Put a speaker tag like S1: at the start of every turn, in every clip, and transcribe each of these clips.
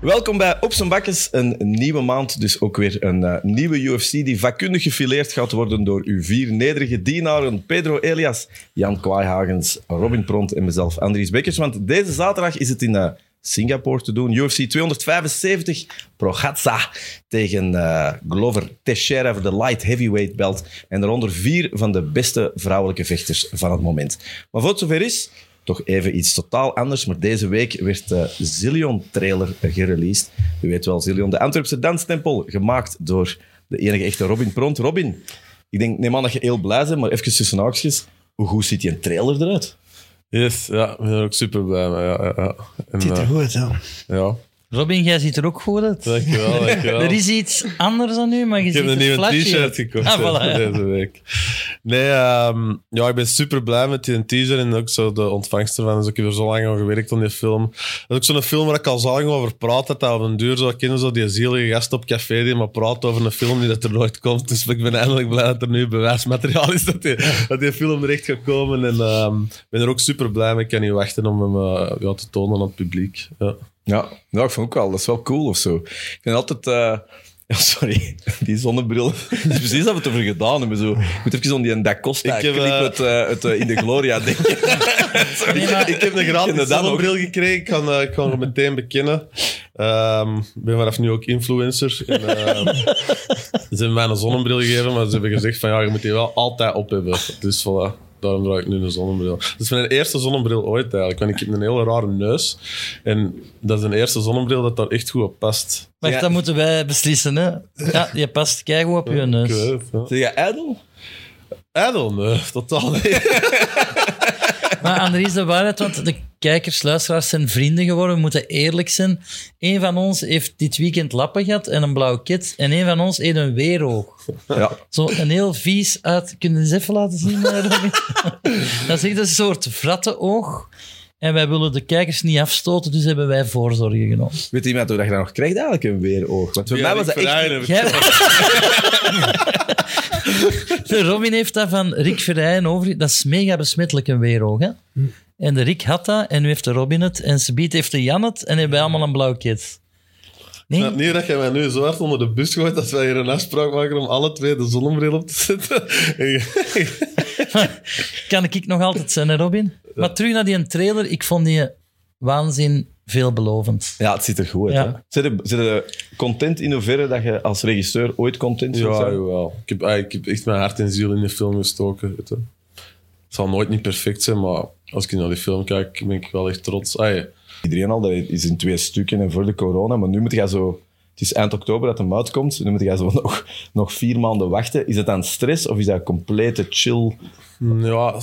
S1: Welkom bij Op zijn Bakkes, een nieuwe maand. Dus ook weer een eh, nieuwe UFC die vakkundig gefileerd gaat worden door uw vier nederige dienaren. Pedro Elias, Jan Kwaaihagens, Robin Pront en mezelf, Andries Bekkers. Want deze zaterdag is het in eh, Singapore te doen. UFC 275, Progatsa tegen eh, Glover Teixeira voor de light heavyweight belt. En daaronder vier van de beste vrouwelijke vechters van het moment. Maar voor het zover is, toch even iets totaal anders. Maar deze week werd de Zillion-trailer gereleased. U weet wel, Zillion, de Antwerpse danstempel, gemaakt door de enige echte Robin Pront. Robin, ik denk, neem aan dat je heel blij bent, maar even tussen haakjes. Hoe goed ziet die trailer eruit?
S2: Yes, ja, ik ben er ook super blij mee. Ja, ja, ja. En,
S3: Ziet er
S2: eh,
S3: goed uit.
S2: ja.
S4: Robin, jij ziet er ook goed uit.
S2: Dankjewel, dankjewel.
S4: Er is iets anders dan nu, maar je
S2: ik
S4: ziet
S2: heb een
S4: er
S2: nieuwe
S4: flashy
S2: t-shirt
S4: uit.
S2: gekocht
S4: Ah, voilà.
S2: hè, deze week. Nee, ehm, ja, ik ben super blij met die t-shirt en ook zo de ontvangst ervan. Dus ik heb er zo lang aan gewerkt aan die film. Dat is ook zo'n film waar ik al zo lang over praat. Dat dat op een duur zo kennen, zo die zielige gast op café die maar praat over een film die dat er nooit komt. Dus ik ben eindelijk blij dat er nu bewijsmateriaal is dat die, dat die film er echt gaat komen. En ehm, ik ben er ook super blij mee. Ik kan niet wachten om hem eh, ja, te tonen aan het publiek. Ja.
S1: Ja, nou, ik vond ook wel. Dat is wel cool of zo. Ik vind altijd... eh, ja, sorry, die zonnebril. Dat is precies wat we het over gedaan hebben. Zo. Ik moet even om die Da Costa
S2: Ik heb,
S1: klik
S2: eh,
S1: uit, eh, uit, eh, In de Gloria denken.
S4: Nee, maar-
S2: ik heb een gratis
S1: Inderdaad
S2: zonnebril gekregen. Ik kan, eh, ik kan het meteen bekennen. Ehm, Ik ben vanaf nu ook influencer. En, ehm, ze hebben mij een zonnebril gegeven, maar ze hebben gezegd van ja, je moet die wel altijd op hebben. Dus voilà. Daarom draag ik nu een zonnebril. Dat is mijn eerste zonnebril ooit eigenlijk, want ik heb een hele rare neus. En dat is een eerste zonnebril dat daar echt goed op past.
S4: Wacht,
S1: Ja.
S4: dat moeten wij beslissen, hè. Ja, je past keigoed op je
S2: Ik
S4: neus.
S2: weet het,
S1: Zeg je ijdel?
S2: ja. Ijdel, nee, totaal niet.
S4: Maar Andries, de waarheid, want de kijkers, luisteraars zijn vrienden geworden. We moeten eerlijk zijn. Eén van ons heeft dit weekend lappen gehad en een blauw kit. En één van ons eet een weeroog.
S1: Ja.
S4: Zo een heel vies uit... Kun je eens even laten zien? eh, Robin? dat is echt een soort vrattenoog. En wij willen de kijkers niet afstoten, dus hebben wij voorzorgen genomen.
S1: Weet iemand hoe dat je dat nog krijgt eigenlijk? Een weeroog. Want voor mij was dat echt...
S4: Jij... de Robin heeft dat van Rick Verheyen over. Dat is mega besmettelijk, een weeroog. Hè? En de Rick had dat, en nu heeft de Robin het. En Sabiet heeft de Jan het, en hebben wij allemaal een blauw
S2: Ik
S4: kit. Nee,
S2: snap niet dat jij mij nu zo hard onder de bus gooit dat wij hier een afspraak maken om alle twee de zonnebril op te zetten. En-
S4: kan ik nog altijd zijn, hè, Robin? Maar terug naar die trailer. Ik vond die waanzin veelbelovend.
S1: Ja, het ziet er goed uit.
S4: Ja.
S1: hè? Zit er, zit er content in hoeverre dat je als regisseur ooit content zult
S2: Ja,
S1: zijn?
S2: jawel. Ik heb, ah, ik heb echt mijn hart en ziel in de film gestoken. Weet je. Het zal nooit niet perfect zijn, maar als ik naar die film kijk, ben ik wel echt trots. Ah, ja.
S1: Iedereen al, dat is in twee stukken en voor de corona. Maar nu moet je zo... Het is eind oktober dat hem uitkomt. Nu moet je zo nog, nog vier maanden wachten. Is dat dan stress of is dat complete chill?
S2: Ja,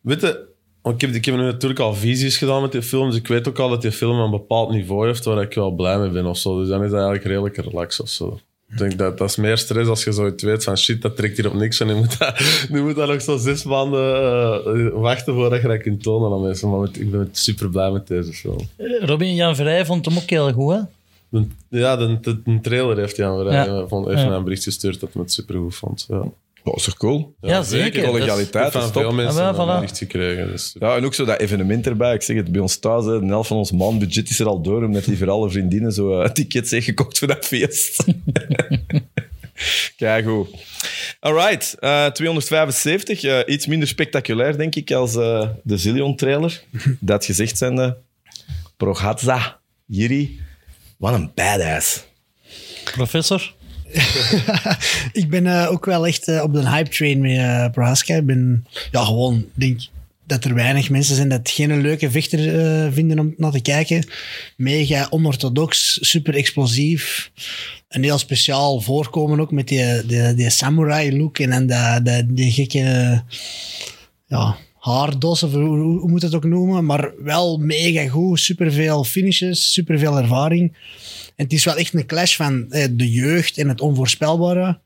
S2: weet je, want ik heb, ik heb nu natuurlijk al visies gedaan met die film, dus ik weet ook al dat die film een bepaald niveau heeft waar ik wel blij mee ben of zo. Dus dan is dat eigenlijk redelijk relaxed of zo. Ik denk dat dat is meer stress als je zoiets weet van shit, dat trekt hier op niks en nu moet dat, nu moet dat nog zo zes maanden eh, wachten voordat je dat kunt tonen aan mensen. Maar met- ik ben super blij met deze film.
S4: Eh, Robin Jan Verheyen vond hem ook heel goed, hè?
S2: De- ja, de, de, de trailer heeft hij aan eh, Verheyen.
S4: Ja.
S2: Hij vond even
S4: Ja.
S2: naar een bericht gestuurd dat hij het supergoed vond. Ja.
S1: Dat is toch cool?
S4: Ja, zeker.
S2: Ik
S4: Dat is-
S1: Legaliteit. dat
S2: heb van
S1: is top.
S2: veel mensen
S4: Ah, wel,
S2: een
S4: voilà.
S2: bericht gekregen. Dus
S1: Ja, en ook zo dat evenement erbij. Ik zeg het, bij ons thuis, hè, een helft van ons maandbudget is er al door, omdat die voor alle vriendinnen zo eh, tickets heeft gekocht voor dat feest. Kijk goed. Alright, eh, 275. eh, iets minder spectaculair, denk ik, als eh, de Zillion-trailer. dat gezegd zijnde, Progatza, Jiri, wat een badass.
S4: Professor?
S3: Ik ben eh, ook wel echt eh, op de hype train met eh Prohaska. Ik ben ja, gewoon, denk dat er weinig mensen zijn dat geen leuke vechter eh, vinden om naar te kijken. Mega onorthodox, super explosief. Een heel speciaal voorkomen ook met die, die, die samurai look en dan dat- dat- die gekke eh, ja, haardos, of hoe, hoe- hoe moet je het ook noemen. Maar wel mega goed, superveel finishes, superveel ervaring. En het is wel echt een clash van eh, de jeugd en het onvoorspelbare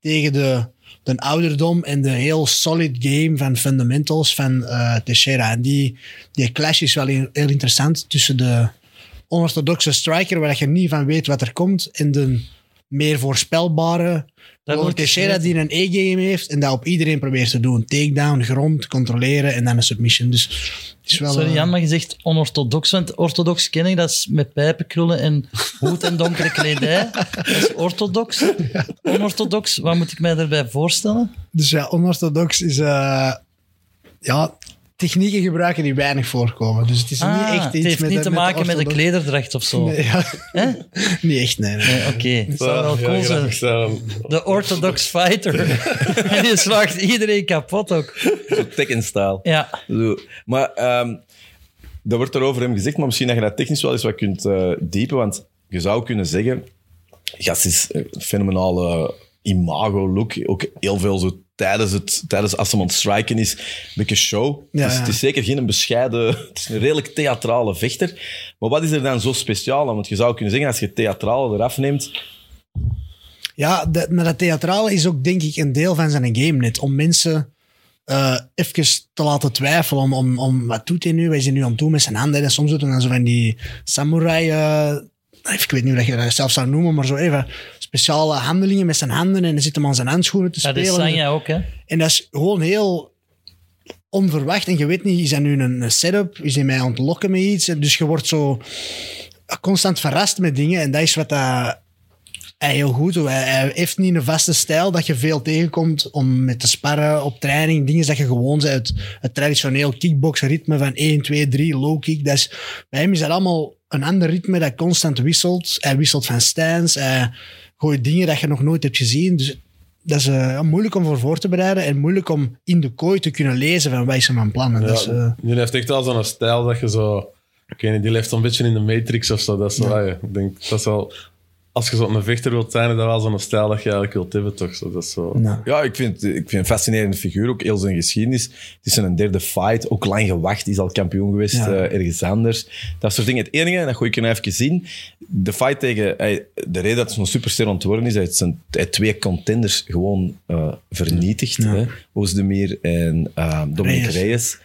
S3: tegen de, de ouderdom en de heel solid game van fundamentals van eh Teixeira. En die, die clash is wel heel, heel interessant tussen de onorthodoxe striker, waar je niet van weet wat er komt, en de meer voorspelbare
S4: Dat
S3: Robert
S4: wordt
S3: Teixeira
S4: gezien.
S3: die een e-game heeft en dat op iedereen probeert te doen. Takedown, grond, controleren en dan een submission. Dus het is wel...
S4: Sorry
S3: eh,
S4: Jan, maar je zegt onorthodox, want orthodox ken ik, dat is met pijpenkrullen en hoed en donkere kledij. Dat is orthodox. Onorthodox, wat moet ik mij daarbij voorstellen?
S3: Dus ja, onorthodox is... eh, ja, technieken gebruiken die weinig voorkomen. Dus het is
S4: Ah,
S3: niet echt iets
S4: het heeft
S3: met,
S4: niet te maken met de
S3: orthodox-
S4: klederdracht of zo.
S3: Nee, ja.
S4: Hè?
S3: niet echt, nee. nee.
S4: Nee, Oké, het zou wel cool zijn. De orthodox fighter. en die slaagt iedereen kapot ook.
S1: Zo Tekken-stijl.
S4: Ja,
S1: Zo. Maar ehm dat wordt er over hem gezegd, maar misschien dat je dat technisch wel eens wat kunt eh, diepen. Want je zou kunnen zeggen, gast is een fenomenale imago-look. Ook heel veel zo tijdens, het, tijdens als iemand striken is, een beetje show.
S3: Ja,
S1: het, is,
S3: ja.
S1: het is zeker geen bescheiden, het is een redelijk theatrale vechter. Maar wat is er dan zo speciaal aan? Want je zou kunnen zeggen, als je het theatrale eraf neemt,
S3: Ja, dat, maar dat theatrale is ook denk ik een deel van zijn game net. Om mensen eh even te laten twijfelen om, om, om wat doet hij nu, wat is hij nu aan het doen met zijn handen. En soms doet hij dan zo van die samurai... eh, ik weet niet hoe dat je dat zelf zou noemen, maar zo even speciale handelingen met zijn handen. En dan zit hem aan zijn handschoenen te
S4: dat
S3: spelen.
S4: is Sanja ook, hè?
S3: En dat is gewoon heel onverwacht. En je weet niet, is dat nu een een setup? Is hij mij aan het lokken met iets? En Dus je wordt zo constant verrast met dingen. En dat is wat dat, hij heel goed doet. Hij, hij heeft niet een vaste stijl dat je veel tegenkomt om met te sparren op training. Dingen dat je gewoon bent uit het traditioneel kickboxritme van 1, 2, 3, low kick. Dat is, bij hem is dat allemaal een ander ritme dat constant wisselt. Hij wisselt van stance. Hij gooit dingen dat je nog nooit hebt gezien. Dus dat is eh, ja, moeilijk om voor voor te bereiden en moeilijk om in de kooi te kunnen lezen van wat is hem aan plannen.
S2: Ja,
S3: Dat
S1: Dus,
S3: is, eh,
S2: Die heeft echt wel zo'n stijl dat je zo... Ik weet niet, die leeft een beetje in de Matrix of zo. Dat is wel, ja, ik denk, dat is wel... Als je zo'n vechter wilt zijn, is dat wel zo'n stijl dat je eigenlijk wilt hebben, toch? Zo, dat is zo...
S3: nou.
S1: Ja, ik vind, ik vind een fascinerende figuur, ook heel zijn geschiedenis. Het is een derde fight, ook lang gewacht, is al kampioen geweest
S3: Ja.
S1: eh, ergens anders. Dat soort dingen. Het enige, en dat gooi ik je nou even zien, de fight tegen... hij- de reden dat het zo'n superster ontworpen is, hij heeft, zijn, hij heeft twee contenders gewoon eh, vernietigd. hè. Oezdemir en eh, Dominic
S3: Reyes.
S1: Reyes.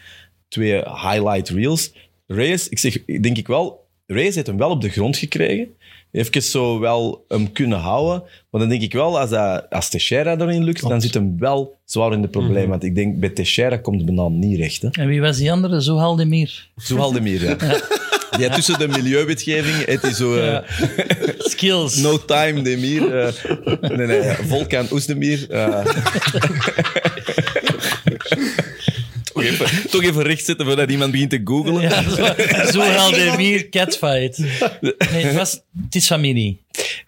S1: Twee highlight reels. Reyes, ik zeg, denk ik wel... Reyes heeft hem wel op de grond gekregen. Even zo wel hem kunnen houden. Maar dan denk ik wel, als, dat, als Teixeira erin lukt, dan zit hem wel zwaar in de problemen. Want ik denk, bij Teixeira komt het bijna niet recht. Hè.
S4: En wie was die andere? Zohaldemir.
S1: Zohaldemir, ja. Ja, tussen de milieuwetgeving, het is zo... eh,
S4: Skills.
S1: No time, Demir. eh nee, nee, Volkan Oesdemir. eh. toch, even, toch even rechtzetten voordat iemand begint te googlen.
S4: Ja, zo- Zohaldemir catfight. Nee, het, was, het is familie.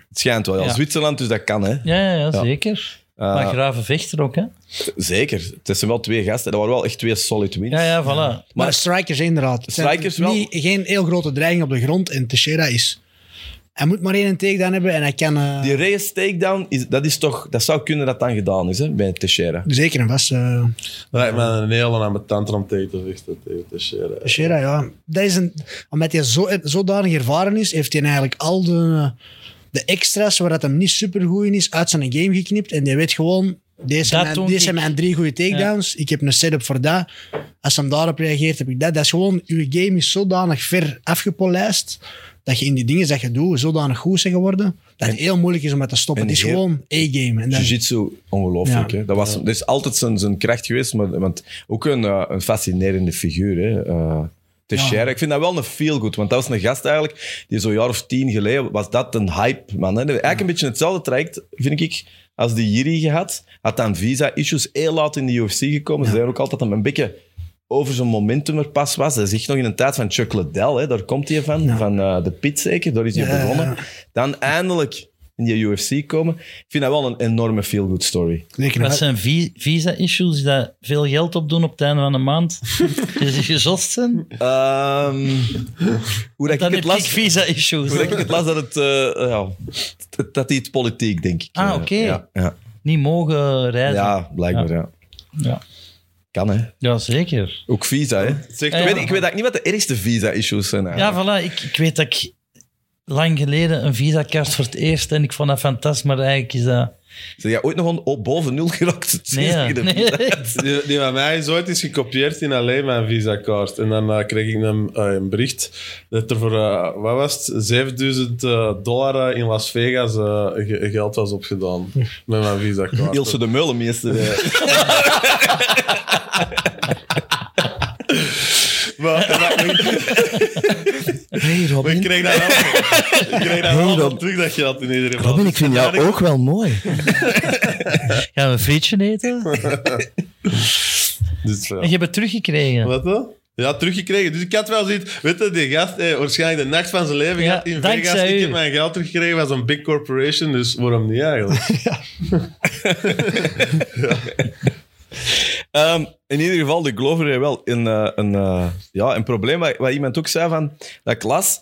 S1: Het schijnt wel, ja.
S4: Ja.
S1: Zwitserland, dus dat kan, hè.
S4: Ja, ja, ja Eh, zeker. maar grave vechter ook, hè?
S1: Zeker. Het zijn wel twee gasten. Dat waren wel echt twee solid wins.
S4: Ja, ja, voilà.
S3: Maar, strikers inderdaad. Het zijn
S1: Strikers wel.
S3: niet- geen heel grote dreiging op de grond. En Teixeira is... Hij moet maar één takedown hebben en hij kan... eh,
S1: Die Reyes takedown, is, dat, is toch, dat zou kunnen dat dan gedaan is, hè, bij Teixeira.
S3: Zeker en vast. eh,
S2: Dat lijkt me een hele ambetant om tegen te vechten. Tegen te sharen.
S3: Teixeira, ja. Dat is een, omdat hij zo, zodanig ervaren is, heeft hij eigenlijk al de, de extra's waar dat hem niet supergoed in is, uit zijn game geknipt. En die weet gewoon, deze
S4: Dat
S3: zijn,
S4: doe
S3: mijn, deze
S4: ik.
S3: zijn mijn drie goede takedowns. Ik heb een setup voor dat. Als hem daarop reageert, heb ik dat. Dat is gewoon, uw game is zodanig ver afgepolijst, dat je in die dingen dat je doet, zodanig goed zijn geworden, dat het heel moeilijk is om dat te stoppen.
S1: en
S3: Het is
S1: heel-
S3: gewoon e-game. En dan-
S1: Jiu-jitsu, ongelooflijk.
S3: Ja.
S1: hè. Dat, was, dat is altijd zijn, zijn kracht geweest, maar, want ook een, eh, een fascinerende figuur. Hè. Eh, Teixeira. Ik vind dat wel een feel-good, want dat was een gast eigenlijk, die zo'n jaar of tien geleden was dat een hype, man. Hè. Eigenlijk een beetje hetzelfde traject, vind ik, als die Jiri gehad. Had dan visa-issues heel laat in de UFC gekomen. Ze zijn ook altijd een beetje over zijn momentum er pas was. Dat is echt nog in een tijd van Chuck Liddell, hè. daar komt hij van, van eh, de pit zeker, daar is hij
S3: Ja, ja,
S1: begonnen.
S3: ja.
S1: Dan eindelijk in die UFC komen. Ik vind dat wel een enorme feel-good story.
S3: Zeker en
S4: Wat
S3: vast.
S4: zijn vi- visa-issues die daar veel geld op doen op het einde van de maand? Dus Is het gezost zijn?
S1: Ehm, hoe dat ik
S4: Dan heb
S1: het
S4: ik
S1: las...
S4: visa-issues.
S1: Hoe dat ik het las, dat het... eh, ja, dat- dat hij het politiek, denk ik.
S4: Ah,
S1: Eh,
S4: oké.
S1: Ja, ja.
S4: Niet mogen reizen. Ja,
S1: Ja, blijkbaar, ja.
S4: ja.
S1: Kan, hè.
S4: zeker.
S1: Ook visa, hè. Zeg,
S4: Ja,
S1: ik,
S4: ja.
S1: weet, ik weet eigenlijk niet wat de ergste visa-issues zijn.
S4: Eh, Ja,
S1: eigenlijk.
S4: voilà. Ik, ik weet dat ik lang geleden een visakaart voor het eerst en ik vond dat fantastisch, maar eigenlijk is dat...
S1: Zijn jij ooit nog een, op boven nul geraakt?
S4: Nee, ja. nee.
S2: Die, die van mij is ooit eens gekopieerd in alleen mijn visa-kaart. En dan eh, kreeg ik een, eh, een bericht dat er voor, eh, wat was het, 7000 eh, dollar eh, in Las Vegas eh, ge- geld was opgedaan met mijn visa-kaart.
S1: Ilse de eh, Meulenmeester.
S2: Maar, maar-
S3: Hey
S2: maar ik
S3: Robin.
S2: kreeg dat wel- ik kreeg dat
S5: Hey,
S2: wel
S5: Rob.
S2: terug, dat geld in ieder geval.
S5: Robin, ik vind jou
S2: Maar
S5: ook wel mooi.
S4: Gaan we een frietje eten?
S2: Dus, ja.
S4: En je hebt het teruggekregen.
S2: Wat dan? Ja, teruggekregen. Dus ik had wel zoiets... Weet je, die gast, eh, waarschijnlijk de nacht van zijn leven
S4: Ja,
S2: gehad in
S4: dankzij
S2: Vegas. Ik
S4: u.
S2: heb mijn geld teruggekregen was een big corporation, dus waarom niet eigenlijk?
S1: Ehm, in ieder geval, ik geloof er wel in eh, een, eh, ja, een probleem. Wat, wat iemand ook zei van dat ik las.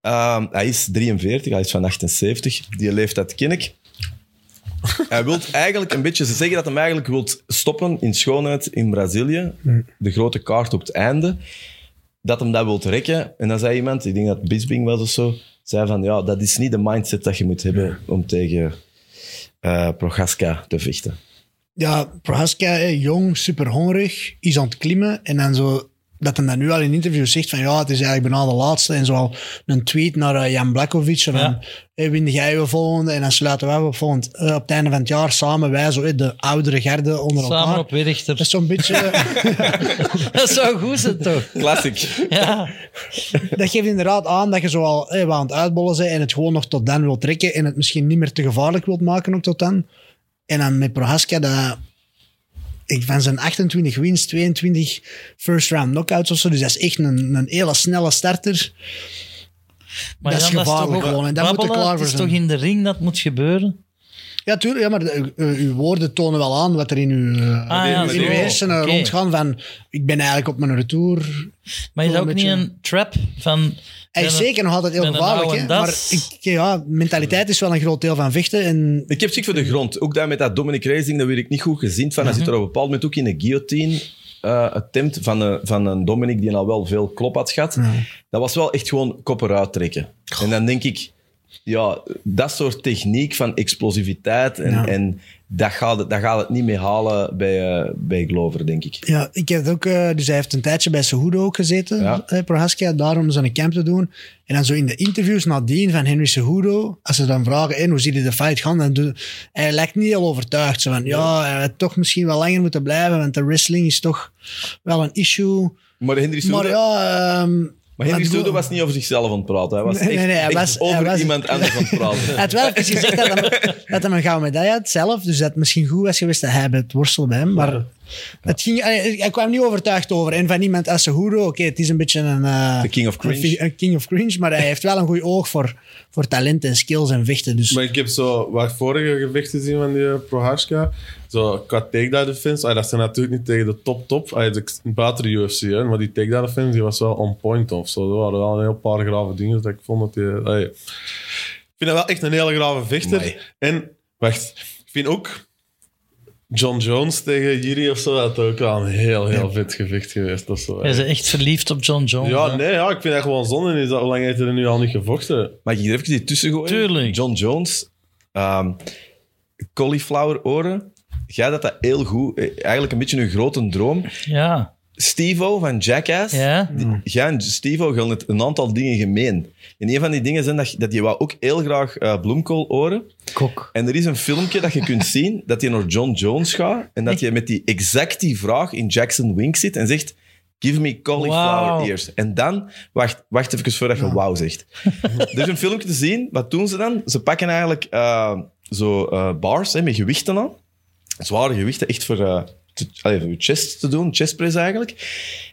S1: ehm, hij is 43, hij is van 78. Die leeftijd ken ik. Hij wil eigenlijk een beetje ze zeggen dat hij eigenlijk wil stoppen in schoonheid in Brazilië. De grote kaart op het einde. Dat hem dat wil rekken. En dan zei iemand, ik denk dat het Bisbing was of zo, zei van ja, dat is niet de mindset dat je moet hebben om tegen eh Prochaska te vechten.
S3: Ja, Prohaska, hè, jong, super hongerig, is aan het klimmen. En dan zo, dat hij dan nu al in interviews zegt van ja, het is eigenlijk bijna de laatste. En zo al een tweet naar eh, Jan Blakovic. Van,
S4: Ja.
S3: hey, win jij je volgende? En dan sluiten wij op volgend. eh, op het einde van het jaar samen wij, zo, hè, de oudere garde onder
S4: Samen
S3: elkaar.
S4: op
S3: Dat is
S4: Werchter.
S3: zo'n beetje...
S4: Dat zou goed zijn, toch?
S1: Classic.
S4: Ja.
S3: dat geeft inderdaad aan dat je zoal hey, aan het uitbollen bent en het gewoon nog tot dan wilt trekken en het misschien niet meer te gevaarlijk wilt maken ook tot dan. En dan met Prohaska, dat, ik, van zijn 28 wins, 22 first round knockouts of zo, dus dat is echt een, een hele snelle starter.
S4: Maar
S3: Dat is
S4: Jan, toch
S3: gevaarlijk
S4: ook
S3: gewoon, en daar moet je
S4: babbelen.
S3: klaar voor
S4: Het is
S3: zijn.
S4: toch in de ring dat moet gebeuren?
S3: Ja, tuurlijk, ja, maar de- uw- uw woorden tonen wel aan wat er in uw, eh,
S4: Ah, ja,
S3: in uw
S4: zo.
S3: hersenen
S4: Oké.
S3: rondgaan van ik ben eigenlijk op mijn retour.
S4: Maar is
S3: Toch
S4: dat
S3: een
S4: ook niet
S3: beetje-
S4: een trap van...
S3: Hij is
S4: Ja,
S3: zeker nog altijd heel
S4: met een
S3: gevaarlijk,
S4: oude
S3: hè, maar
S4: das.
S3: ik, ja, mentaliteit is wel een groot deel van vechten en
S1: Ik heb ziek voor de grond. Ook daar met dat Dominic Racing, dat werd ik niet goed gezien van. Hij
S3: Mhm.
S1: zit er op een bepaald moment ook in een guillotine. eh attempt van een, van een Dominic die al wel veel klop had gehad. Dat was wel echt gewoon kopper uittrekken. En dan denk ik, ja, dat soort techniek van explosiviteit, en,
S3: Ja.
S1: en dat, gaat, het- dat gaat het niet meer halen bij, eh, bij Glover, denk ik.
S3: Ja, ik heb het ook, eh, dus hij heeft een tijdje bij Cejudo ook gezeten,
S1: Ja.
S3: eh, Prohaska, daarom zo'n camp te doen. En dan zo in de interviews nadien van Henry Cejudo, als ze dan vragen, "En, hoe ziet hij de fight gaan, dan doe, hij lijkt niet heel overtuigd. Zo van, ja, hij had toch misschien wel langer moeten blijven, want de wrestling is toch wel een issue.
S1: Maar Henry
S3: Maar
S1: Cejudo,
S3: ja... ehm,
S1: maar Henry
S3: want-
S1: Cejudo was niet over zichzelf aan het praten. Hij was
S3: Nee,
S1: echt,
S3: nee, nee, hij
S1: echt
S3: was-
S1: over
S3: hij was-
S1: iemand anders aan het praten.
S3: Hij had wel even gezegd dat hij, dat hij een gouden medaille had zelf. Dus dat het misschien goed was geweest dat hij bij het worstel bij hem. Maar het ging, hij, hij kwam niet overtuigd over. En van iemand als Cejudo, oké, het is een beetje een... eh,
S1: The king of cringe.
S3: een fi- Een king of cringe, maar hij heeft wel een goed oog voor, voor talent en skills en vechten. Dus
S2: Maar ik heb zo wat vorige gevechten zien van die eh, Prohaska. Zo qua takedown defense. Ah, dat zijn natuurlijk niet tegen de top top. Ah, de- buiten de UFC, hè, maar die takedown defense die was wel on point of zo. Er waren wel een heel paar grave dingen dat ik vond dat die... ah, ja. Ik vind dat wel echt een hele grave vechter.
S1: Amai.
S2: En, wacht, ik vind ook... John Jones tegen Jiri of zo, dat ook wel een heel, heel vet gevecht geweest. Of zo,
S4: Hij is echt verliefd op John Jones.
S2: ja,
S4: hè?
S2: nee, ja, ik vind dat gewoon zonde. Is dat, hoe lang heeft hij er nu al niet gevochten?
S1: Mag ik hier even die tussen gooien?
S4: Tuurlijk.
S1: John Jones. ehm cauliflower oren. Jij dat dat heel goed. eh, Eigenlijk een beetje een grote droom.
S4: Ja.
S1: Steve-O van Jackass.
S4: Ja.
S1: Die- Jij en Steve-O gaan het een aantal dingen gemeen. En een van die dingen zijn dat, dat je wou ook heel graag eh bloemkool oren.
S4: Kok.
S1: En er is een filmpje dat je kunt zien dat je naar John Jones gaat en dat je met die exact die vraag in Jackson Wink zit en zegt Give me cauliflower
S4: Wauw.
S1: ears. En dan, wacht, wacht even voordat je wauw zegt. er is een filmpje te zien. Wat doen ze dan? Ze pakken eigenlijk eh, zo eh, bars hè, met gewichten aan. Zware gewichten, echt voor, eh, te- allee, voor je chest te doen, chest press eigenlijk.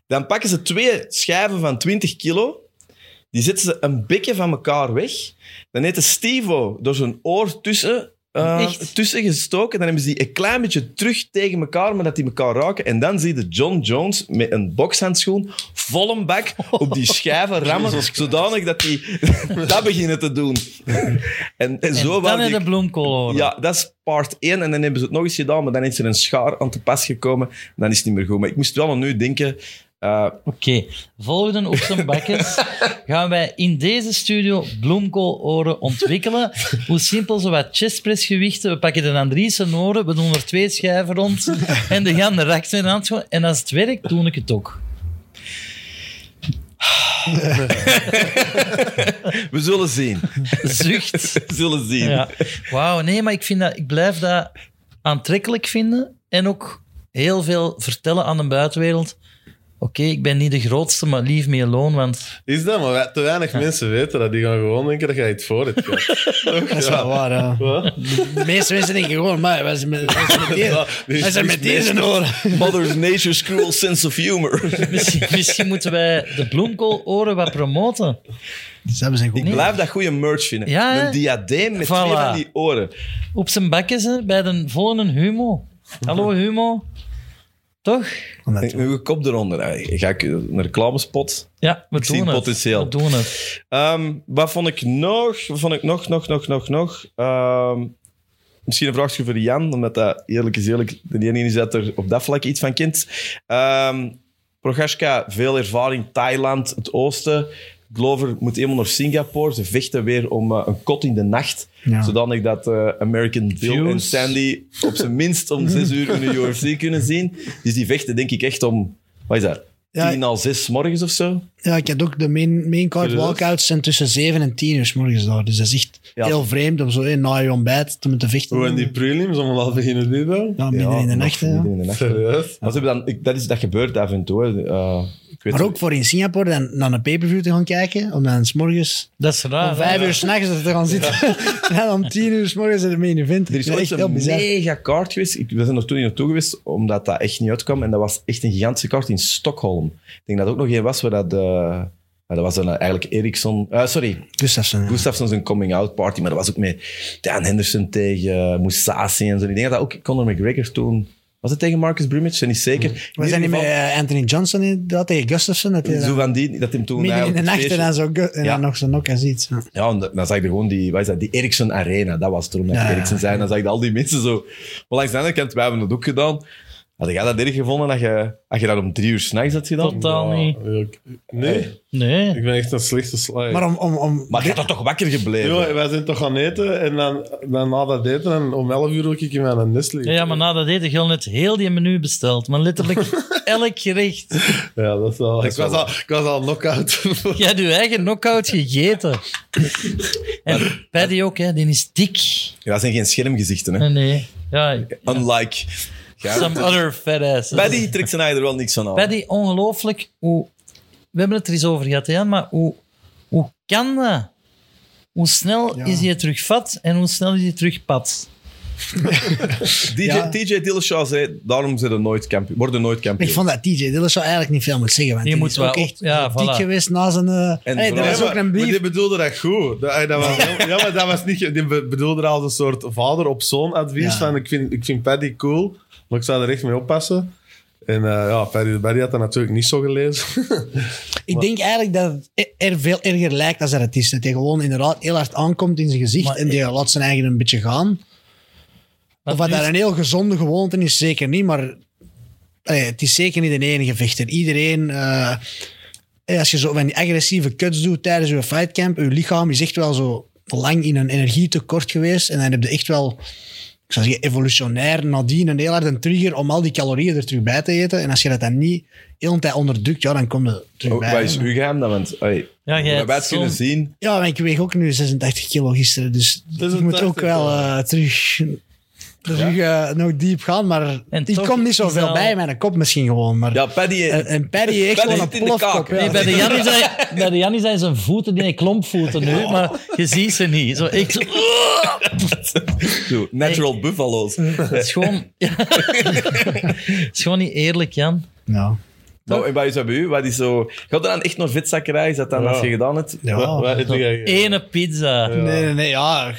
S1: Dan pakken ze twee schijven van 20 kilo. Die zetten ze een beetje van elkaar weg. Dan heeft de Stevo door zijn oor tussen, eh,
S4: Echt?
S1: tussen gestoken. Dan hebben ze die een klein beetje terug tegen elkaar, maar dat die elkaar raken. En dan zie je John Jones met een bokshandschoen vol een bak op die schijven rammen, zodanig dat die dat beginnen te doen. en, en zo
S4: En
S1: waren
S4: dan in
S1: die-
S4: de bloemkool
S1: ja, dat is part 1. En dan hebben ze het nog eens gedaan, maar dan is er een schaar aan te pas gekomen. En dan is het niet meer goed. Maar ik moest wel aan nu denken. eh, Eh,
S4: Oké, volgende op zijn bakkes gaan wij in deze studio bloemkooloren ontwikkelen. Hoe simpel zo wat chestpressgewichten. We pakken de Andriessen oren, we doen er twee schijven rond en de gaan de rakt in de hand. gewoon. En als het werkt, doe ik het ook.
S1: we zullen zien.
S4: Zucht.
S1: We zullen zien.
S4: Ja. Wauw, nee, maar ik, vind dat, ik blijf dat aantrekkelijk vinden en ook heel veel vertellen aan de buitenwereld. Oké, ik ben niet de grootste, maar leave me alone, want
S2: Is dat, maar we- te weinig mensen weten dat. Die gaan gewoon denken dat jij het voor hebt. gehad.
S3: Dat is wel waar, ja.
S2: Wat?
S3: De meeste mensen denken gewoon, maar wij zijn met, wij zijn met die-
S2: Ja, die-
S3: wij zijn met deze oren.
S1: Mother Nature's cruel sense of humor.
S4: misschien, misschien moeten wij de bloemkooloren wat promoten.
S3: Dus dat zijn goed.
S1: Ik blijf dat goede merch vinden.
S4: Ja, hè?
S1: een diadeem met
S4: Voilà.
S1: twee van die oren.
S4: Op zijn bakjes, hè, bij de volgende Humo. Hallo Humo. Toch?
S3: Omdat-
S1: En Uw kop eronder. Hey, Ga ik een reclamespot?
S4: Ja, we
S1: Ik
S4: doen
S1: zie
S4: het.
S1: potentieel.
S4: We doen het.
S1: Ehm, wat vond ik nog? Wat vond ik nog, nog, nog, nog, nog? Ehm, misschien een vraagje voor Jan, omdat dat eerlijk is eerlijk de ene is dat er op dat vlak iets van kent. Ehm Prochaska, veel ervaring. Thailand, het oosten. Glover moet eenmaal naar Singapore. Ze vechten weer om eh, een kot in de nacht.
S3: Ja.
S1: Zodanig dat eh, American Bill
S4: Views.
S1: en Sandy op zijn minst om zes uur in de UFC kunnen zien. Dus die vechten denk ik echt om... Wat is dat?
S3: Ja.
S1: Tien al zes morgens of zo?
S3: Ja, ik had ook de main, main card
S2: Serieus?
S3: walkouts zijn tussen 7 en 10 uur 's morgens daar. Dus dat is echt
S1: Ja.
S3: heel vreemd om zo eh, na je ontbijt te moeten vechten.
S2: Hoe en die prelims allemaal al beginnen die dan?
S3: ja, midden
S1: Ja,
S3: in de
S1: nog
S3: nacht. hè, ja.
S1: midden in de nacht.
S2: Serieus?
S1: Maar ze hebben dan, ik- dat, is, dat gebeurt af en toe. hè. Eh, ik weet
S3: Maar ook voor in Singapore dan naar een pay-per-view te gaan kijken. Om dan 's morgens
S4: Dat is
S1: Ah,
S4: raar.
S3: om
S4: hè?
S3: 5 uur s'nachts te gaan zitten. En dan om 10 uur 's morgens in de main event.
S1: Er is
S3: Ja,
S1: ooit
S3: echt heel
S1: een
S3: bizar.
S1: mega kaart geweest. Ik, we zijn er toen niet naartoe geweest, omdat dat echt niet uitkwam. En dat was echt een gigantische kaart in Stockholm. Ik denk dat er ook nog één was waar dat... eh, maar dat was dan eh, eigenlijk Eriksson... eh, sorry,
S3: Gustafsson. ja.
S1: Gustafsson zijn coming-out party. Maar dat was ook met Dan Henderson tegen eh, Moussassi en zo. Ik denk dat dat ook Conor McGregor toen... Was het tegen Marcus Brumage? Ben niet zeker. In
S3: We zijn niet
S1: ieder
S3: met eh, Anthony Johnson in- dat tegen Gustafsson. Dat hij
S1: geval,
S3: dan
S1: Zo van die, dat hem toen...
S3: midden in
S1: eigenlijk
S3: de
S1: het
S3: nacht en
S1: feestje-
S3: dan, zo, gu- en
S1: Ja.
S3: dan nog zo'n knock en zoiets. Ja.
S1: Ja, en dan zag je gewoon die, wat is dat, die Ericsson Arena. Dat was het erom dat
S3: Ja,
S1: ja,
S3: ja,
S1: Ericsson zei. En dan zag je al die mensen zo. Maar langs de andere kant, wij hebben het ook gedaan. Had jij dat erg gevonden dat je, als je dat om drie uur s'nachts had gedaan?
S4: Totaal niet.
S2: Oh, Nee,
S4: Nee.
S2: ik ben echt een slechte slager.
S3: Maar om, om, om
S1: Maar je had toch wakker gebleven?
S2: Jongen, wij zijn toch gaan eten en dan, dan na dat eten en om 11 uur wil ik in mijn nest liggen.
S4: Ja, ja, maar na dat eten gewoon net heel die menu besteld. Maar letterlijk elk gerecht.
S2: Ja, dat is wel... ik,
S1: is wel
S2: was al, ik was al knock-out.
S4: Jij hebt je eigen knock-out gegeten. En Paddy ook, hè. Die is dik.
S1: Ja, dat zijn geen schermgezichten, hè?
S4: Nee, nee. Ja,
S1: Unlike. Ja.
S4: some other fat asses.
S1: Paddy trekt zijn eigen er wel niks van aan.
S4: Paddy, ongelooflijk hoe... We hebben het er eens over gehad, hè, Jan, maar hoe, hoe kan dat? Hoe snel
S3: Ja.
S4: is hij terug vat en hoe snel is hij terug pat?
S1: DJ,
S3: Ja.
S1: TJ Dillashaw zei, daarom zijn ze nooit kampioen, worden nooit
S3: Maar
S1: kampioen.
S3: ik vond dat DJ Dillashaw eigenlijk niet veel moet zeggen. Want
S4: Je
S3: die
S4: moet
S3: is
S4: wel
S3: ook
S4: op-
S3: echt
S4: ja,
S3: dik
S4: voilà.
S3: geweest na zijn... eh hey,
S1: vooral-
S3: er was
S1: Ja,
S3: ook een
S2: Maar die
S3: brief.
S2: bedoelde dat goed. Dat, ey, dat was, ja, maar dat was niet... Die be- bedoelde dat als een soort vader op zoon advies
S3: Ja.
S2: van ik vind, ik vind Paddy cool, maar ik zou er echt mee oppassen. En eh, ja, Paddy, Paddy had dat natuurlijk niet zo gelezen.
S3: Ik denk eigenlijk dat het e- er veel erger lijkt als dat het is. Dat hij gewoon inderdaad heel hard aankomt in zijn gezicht
S4: Maar
S3: en die laat zijn eigen een beetje gaan. Of wat
S4: nu is-
S3: daar een heel gezonde gewoonte is, zeker niet. Maar eh, het is zeker niet de enige vechter. Iedereen... eh, eh, als je zo van die agressieve cuts doet tijdens je fightcamp, je lichaam is echt wel zo lang in een energietekort geweest. En dan heb je echt wel, ik zou zeggen, evolutionair nadien een heel hard een trigger om al die calorieën er terug bij te eten. En als je dat dan niet heel de tijd onderdrukt, ja, dan kom je er terug
S1: Oh,
S3: bij.
S1: Wat is uw geheim dan? Want, ey,
S4: Ja, jij
S1: wij het
S4: hebt
S1: kunnen
S4: zo'n-
S1: zien.
S3: Ja, maar ik weeg ook nu 86 kilo gisteren, dus ik moet
S2: 86,
S3: ook wel eh, terug... Terug eh, nog diep gaan, maar
S4: En
S3: ik
S4: toch
S3: kom niet
S4: is
S3: zoveel
S4: al-
S3: bij in mijn kop misschien gewoon. Maar
S1: Ja, Paddy...
S3: en, en Paddy heeft
S1: Paddy
S3: gewoon een
S1: zit in de
S3: plofkop.
S1: kaak.
S3: ja.
S4: Nee, bij de Jannie zijn, bij de Jannie zijn zijn voeten, die klompvoeten nu, maar je ziet ze niet. Zo, ik, zo,
S1: Zo, natural buffalo's.
S4: het is gewoon... het is gewoon niet eerlijk, Jan.
S3: Ja.
S1: Nou, en wat is dat bij u? Wat is zo... Gaat dat dan echt naar vetzakkerij? Is dat dan
S2: Ja.
S1: als je gedaan hebt?
S3: Ja.
S2: Wat- wat eet jij?
S4: Ene pizza.
S3: Nee, nee, nee, ja.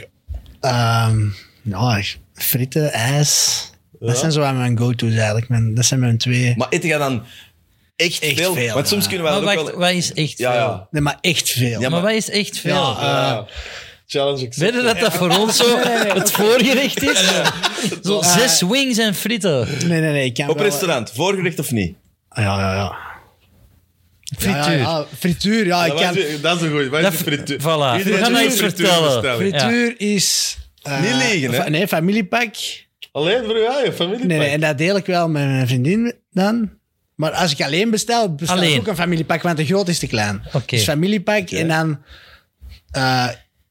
S3: Ehm, ja, frieten, ijs. Dat zijn zo aan mijn go-to's eigenlijk. Mijn, dat zijn mijn twee.
S1: Maar eten gaat dan echt,
S3: Echt
S1: veel?
S3: veel,
S1: Want soms
S3: ja.
S1: kunnen wij
S4: Maar
S1: dat ook
S4: wacht,
S1: wel...
S4: wat is echt
S1: Ja,
S4: veel?
S1: ja.
S3: nee, maar echt veel.
S1: Ja,
S4: Maar wat is echt veel?
S3: Ja, eh,
S2: Ja. Ah, Challenge accepted.
S4: Weet je dat dat voor ons zo het voorgerecht is? Zo
S3: Eh,
S4: zes wings en frieten.
S3: nee, nee, nee. Ik kan
S1: Op
S3: wel-
S1: restaurant, voorgerecht of niet?
S3: Ja, ja, ja. Ja, ja, ja, frituur, ja. Ik
S2: Dat,
S3: kan...
S2: was je- dat is een goeie. Wat is
S4: Dat-
S2: de frituur?
S4: voilà. We gaan
S2: doet
S4: dat
S2: een
S4: eens
S2: frituurbestelling.
S4: vertellen. Ja.
S3: Frituur is... eh,
S1: Niet liegen, hè?
S3: fa- Nee, familiepak.
S2: Alleen voor jou, je familie.
S3: Nee, nee, en dat deel ik wel met mijn vriendin dan. Maar als ik alleen bestel, bestel
S4: Alleen.
S3: ik ook een familiepak, want de groot is te klein.
S4: Oké.
S3: Dus familiepak en dan eh,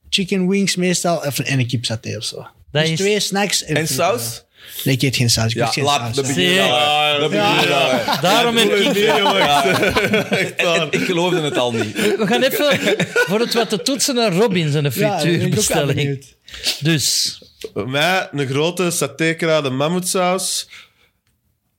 S3: chicken wings meestal of- en een kipsaté of zo.
S4: Dat
S3: dus
S4: is-
S3: twee snacks. En,
S1: En
S3: frieten.
S1: saus?
S3: Nee, ik eet geen saus. Ik
S1: Ja,
S3: eet geen
S1: laat-
S3: saus.
S1: dat
S3: ja.
S1: begin je al, hè.
S2: Ja,
S1: Dat begin je al, hè.
S4: Daarom heb ik...
S1: En- en Ik geloofde het al niet.
S4: We gaan even, voor het wat te toetsen, naar Robin zijn
S3: Ja, ik ben ook wel
S4: frituurbestelling.
S3: benieuwd.
S4: dus,
S2: Bij Mij een grote satékraden mammoetsaus.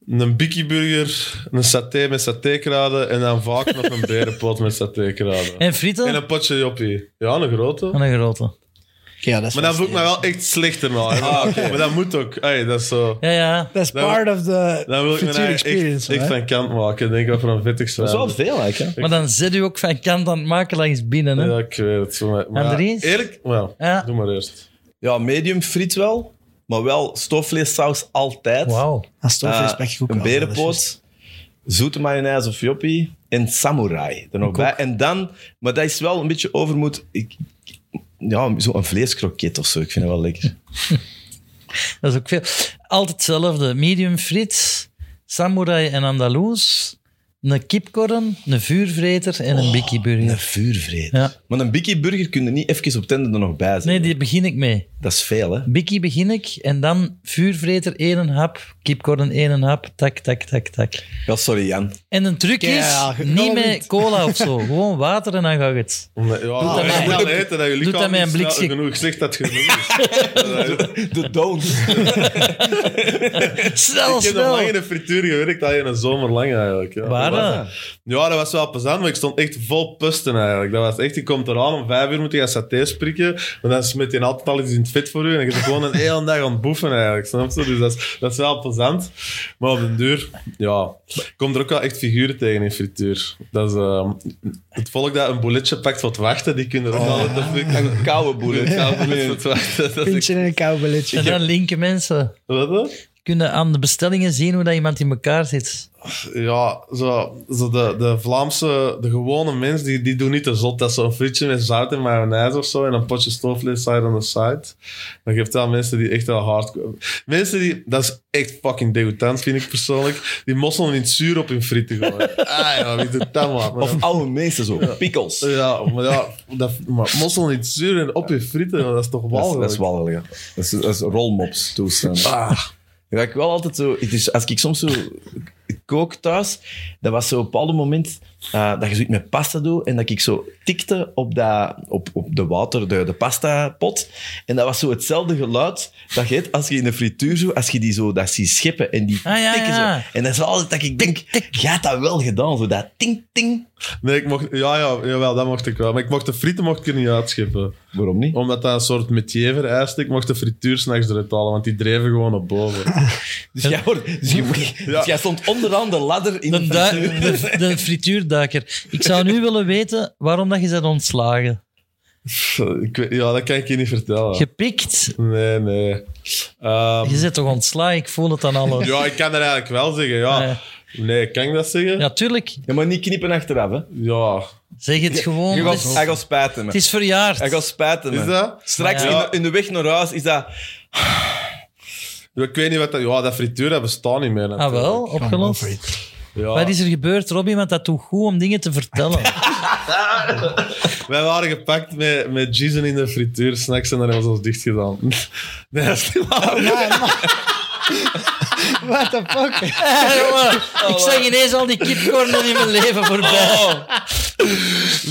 S2: Een bikkieburger, een saté met satékraden en dan vaak nog een berenpot met satékraden.
S4: en frieten?
S2: En een potje joppie. Ja, een grote.
S4: Van een grote.
S3: Oké, ja, dat is
S2: Maar dan
S3: wel
S2: voel ik me wel echt slechter nou. hè. Maar dat moet ook. Hey, dat is zo.
S4: Ja, ja.
S3: Dat is
S2: Dan-
S3: part of the
S2: Dan wil ik me
S3: frituur
S2: nou echt,
S3: experience.
S2: echt
S3: hoor, hè.
S2: van kant maken. Ik denk wat voor een vettig zijn.
S1: veel eigenlijk.
S4: Maar dan zet u ook van kant aan het maken langs binnen. Hè?
S2: Ja, ik weet het. voor mij. Maar ja,
S4: Andries?
S2: Eerlijk? Wel,
S4: Ja.
S2: doe maar eerst.
S1: Ja, medium friet wel, maar wel stofvleessaus altijd.
S4: Wauw.
S3: Als het over
S1: Eh,
S3: is, pak ik ook
S1: een
S3: wel, dat is juist.
S1: berenpoot, zoete mayonaise of joppie en samurai er nog bij. En dan, maar dat is wel een beetje overmoed. Ik, ja, zo'n vleeskroket of zo, ik vind het wel lekker.
S4: Dat is ook veel. Altijd hetzelfde. Medium friet, samurai en Andaloes, een kipkorn, een vuurvreter en een
S1: Een
S4: bikkieburger.
S1: vuurvreet.
S4: Ja.
S1: Maar een Biggie Burger kun je niet even op tenden er nog bij zetten.
S4: Nee, die begin ik mee.
S1: Dat is veel, hè?
S4: Bikkie begin ik en dan vuurvreter één hap, kipkorn één hap, tak, tak, tak, tak.
S1: Ja, sorry Jan.
S4: En een truc is,
S3: Ja, ja, ge-
S4: niet
S3: knal
S4: met
S3: niet.
S4: cola of zo. Gewoon water en dan gaat het.
S2: Omdat- Ja,
S4: dat
S2: je
S4: mij-
S2: moet al eten dat je
S4: Doet dat
S2: lichaam
S4: mij een
S2: niet snel
S4: blikje-
S2: genoeg zegt dat het genoeg is.
S1: De don't.
S4: Snel,
S2: Ik heb nog
S4: Oh, snel.
S2: lang in de frituur gewerkt, dat je een zomer lang eigenlijk. Ja.
S4: Waar
S2: Dat was-
S4: dan?
S2: Ja, dat was wel plezant, maar ik stond echt vol pusten eigenlijk. Dat was echt, je komt eraan, om vijf uur moet je gaan saté prikken, maar dan smet je altijd al iets in het vet voor u en je bent gewoon een hele dag aan het boeven eigenlijk, snap je? Dus dat is, dat is wel plezant. Maar op den duur, ja, komt er ook wel echt figuren tegen in frituur. Dat is, ehm, het volk dat een bolletje pakt voor het wachten, die kunnen er ook altijd op
S4: Ah.
S1: Een koude boer.
S2: voor het wachten. Dat is
S3: Puntje in een
S4: En
S3: koubelletje.
S4: dan linken mensen.
S2: Wat, hè?
S4: Kunnen aan de bestellingen zien hoe dat iemand in elkaar zit.
S2: Ja, zo, zo de, de Vlaamse, de gewone mens, die, die doen niet te zot. Dat is zo'n frietje met zout en mayonaise of zo en een potje stoofvlees side on the side. Dat geeft wel mensen die echt wel hard... Mensen die... Dat is echt fucking degoutant, vind ik persoonlijk. Die mosselen in het zuur op hun frieten gooien. Ah ja, wie doet dat, man? Maar
S1: Of
S2: dan-
S1: oude mensen zo, pickles.
S3: Eh,
S1: Dat
S2: ja, maar ja, dat, maar mosselen in het zuur en op je frieten, dat is toch
S1: is,
S2: walgelijk?
S1: dat is walgelijk, ja. Dat is, dat is rolmops toestand.
S4: Ah.
S1: Ja, ik wel altijd zo... Het is, als ik soms zo kook thuis, dat was zo op een bepaald moment eh, dat je zoiets met pasta doet en dat ik zo tikte op, dat, op, op de water, de, de pastapot. En dat was zo hetzelfde geluid dat je hebt als je in de frituur zo, als je die zo dat ziet scheppen en die
S4: Ah, ja,
S1: tikken
S4: ja.
S1: zo. En dat is wel altijd dat ik denk, jij hebt dat wel gedaan, zo dat ting-ting.
S2: Nee, ik mocht... Ja, ja, jawel, dat mocht ik wel. Maar ik mocht de frieten mocht ik er niet uitscheppen.
S1: Waarom niet?
S2: Omdat dat een soort metier vereist. Ik mocht de frituur s'nachts eruit halen, want die dreven gewoon op boven.
S1: Dus jij, wordt- dus jij- dus jij stond onderaan de ladder in
S4: De,
S1: de
S4: du-
S1: frituur.
S4: de, de frituurduiker. Ik zou nu willen weten waarom dat je bent ontslagen.
S2: ik weet, ja, dat kan ik je niet vertellen.
S4: Gepikt.
S2: Nee, nee. Ehm,
S4: Je bent toch ontslagen? Ik voel het aan alles.
S2: ja, ik kan dat eigenlijk wel zeggen, ja. Nee, kan ik dat zeggen? Ja.
S4: Ja, tuurlijk.
S1: Ja, maar niet knippen achteraf, hè.
S4: Zeg het gewoon.
S1: Je
S4: Het
S1: gaat, hij
S4: is-
S1: gaat spijten me.
S4: het is verjaard.
S1: Hij gaat spijten me.
S2: Is dat?
S1: Straks
S4: Ja.
S1: in, de, in de weg naar huis is dat...
S2: Ja, Ik weet niet wat dat... Ja, dat frituur, dat bestaat niet meer.
S4: Ah,
S2: natuurlijk.
S4: wel? Opgelost?
S3: Over it.
S2: Ja.
S4: Wat is er gebeurd, Robbie? Want dat doet goed om dingen te vertellen.
S2: Wij waren gepakt met, met Jason in de frituur, snacks, en dan hebben ze ons dicht gedaan. Nee, dat is niet waar.
S3: What the fuck?
S4: Ah, jongen,
S1: Oh,
S4: ik zag ineens al die kipkornen in mijn leven voorbij.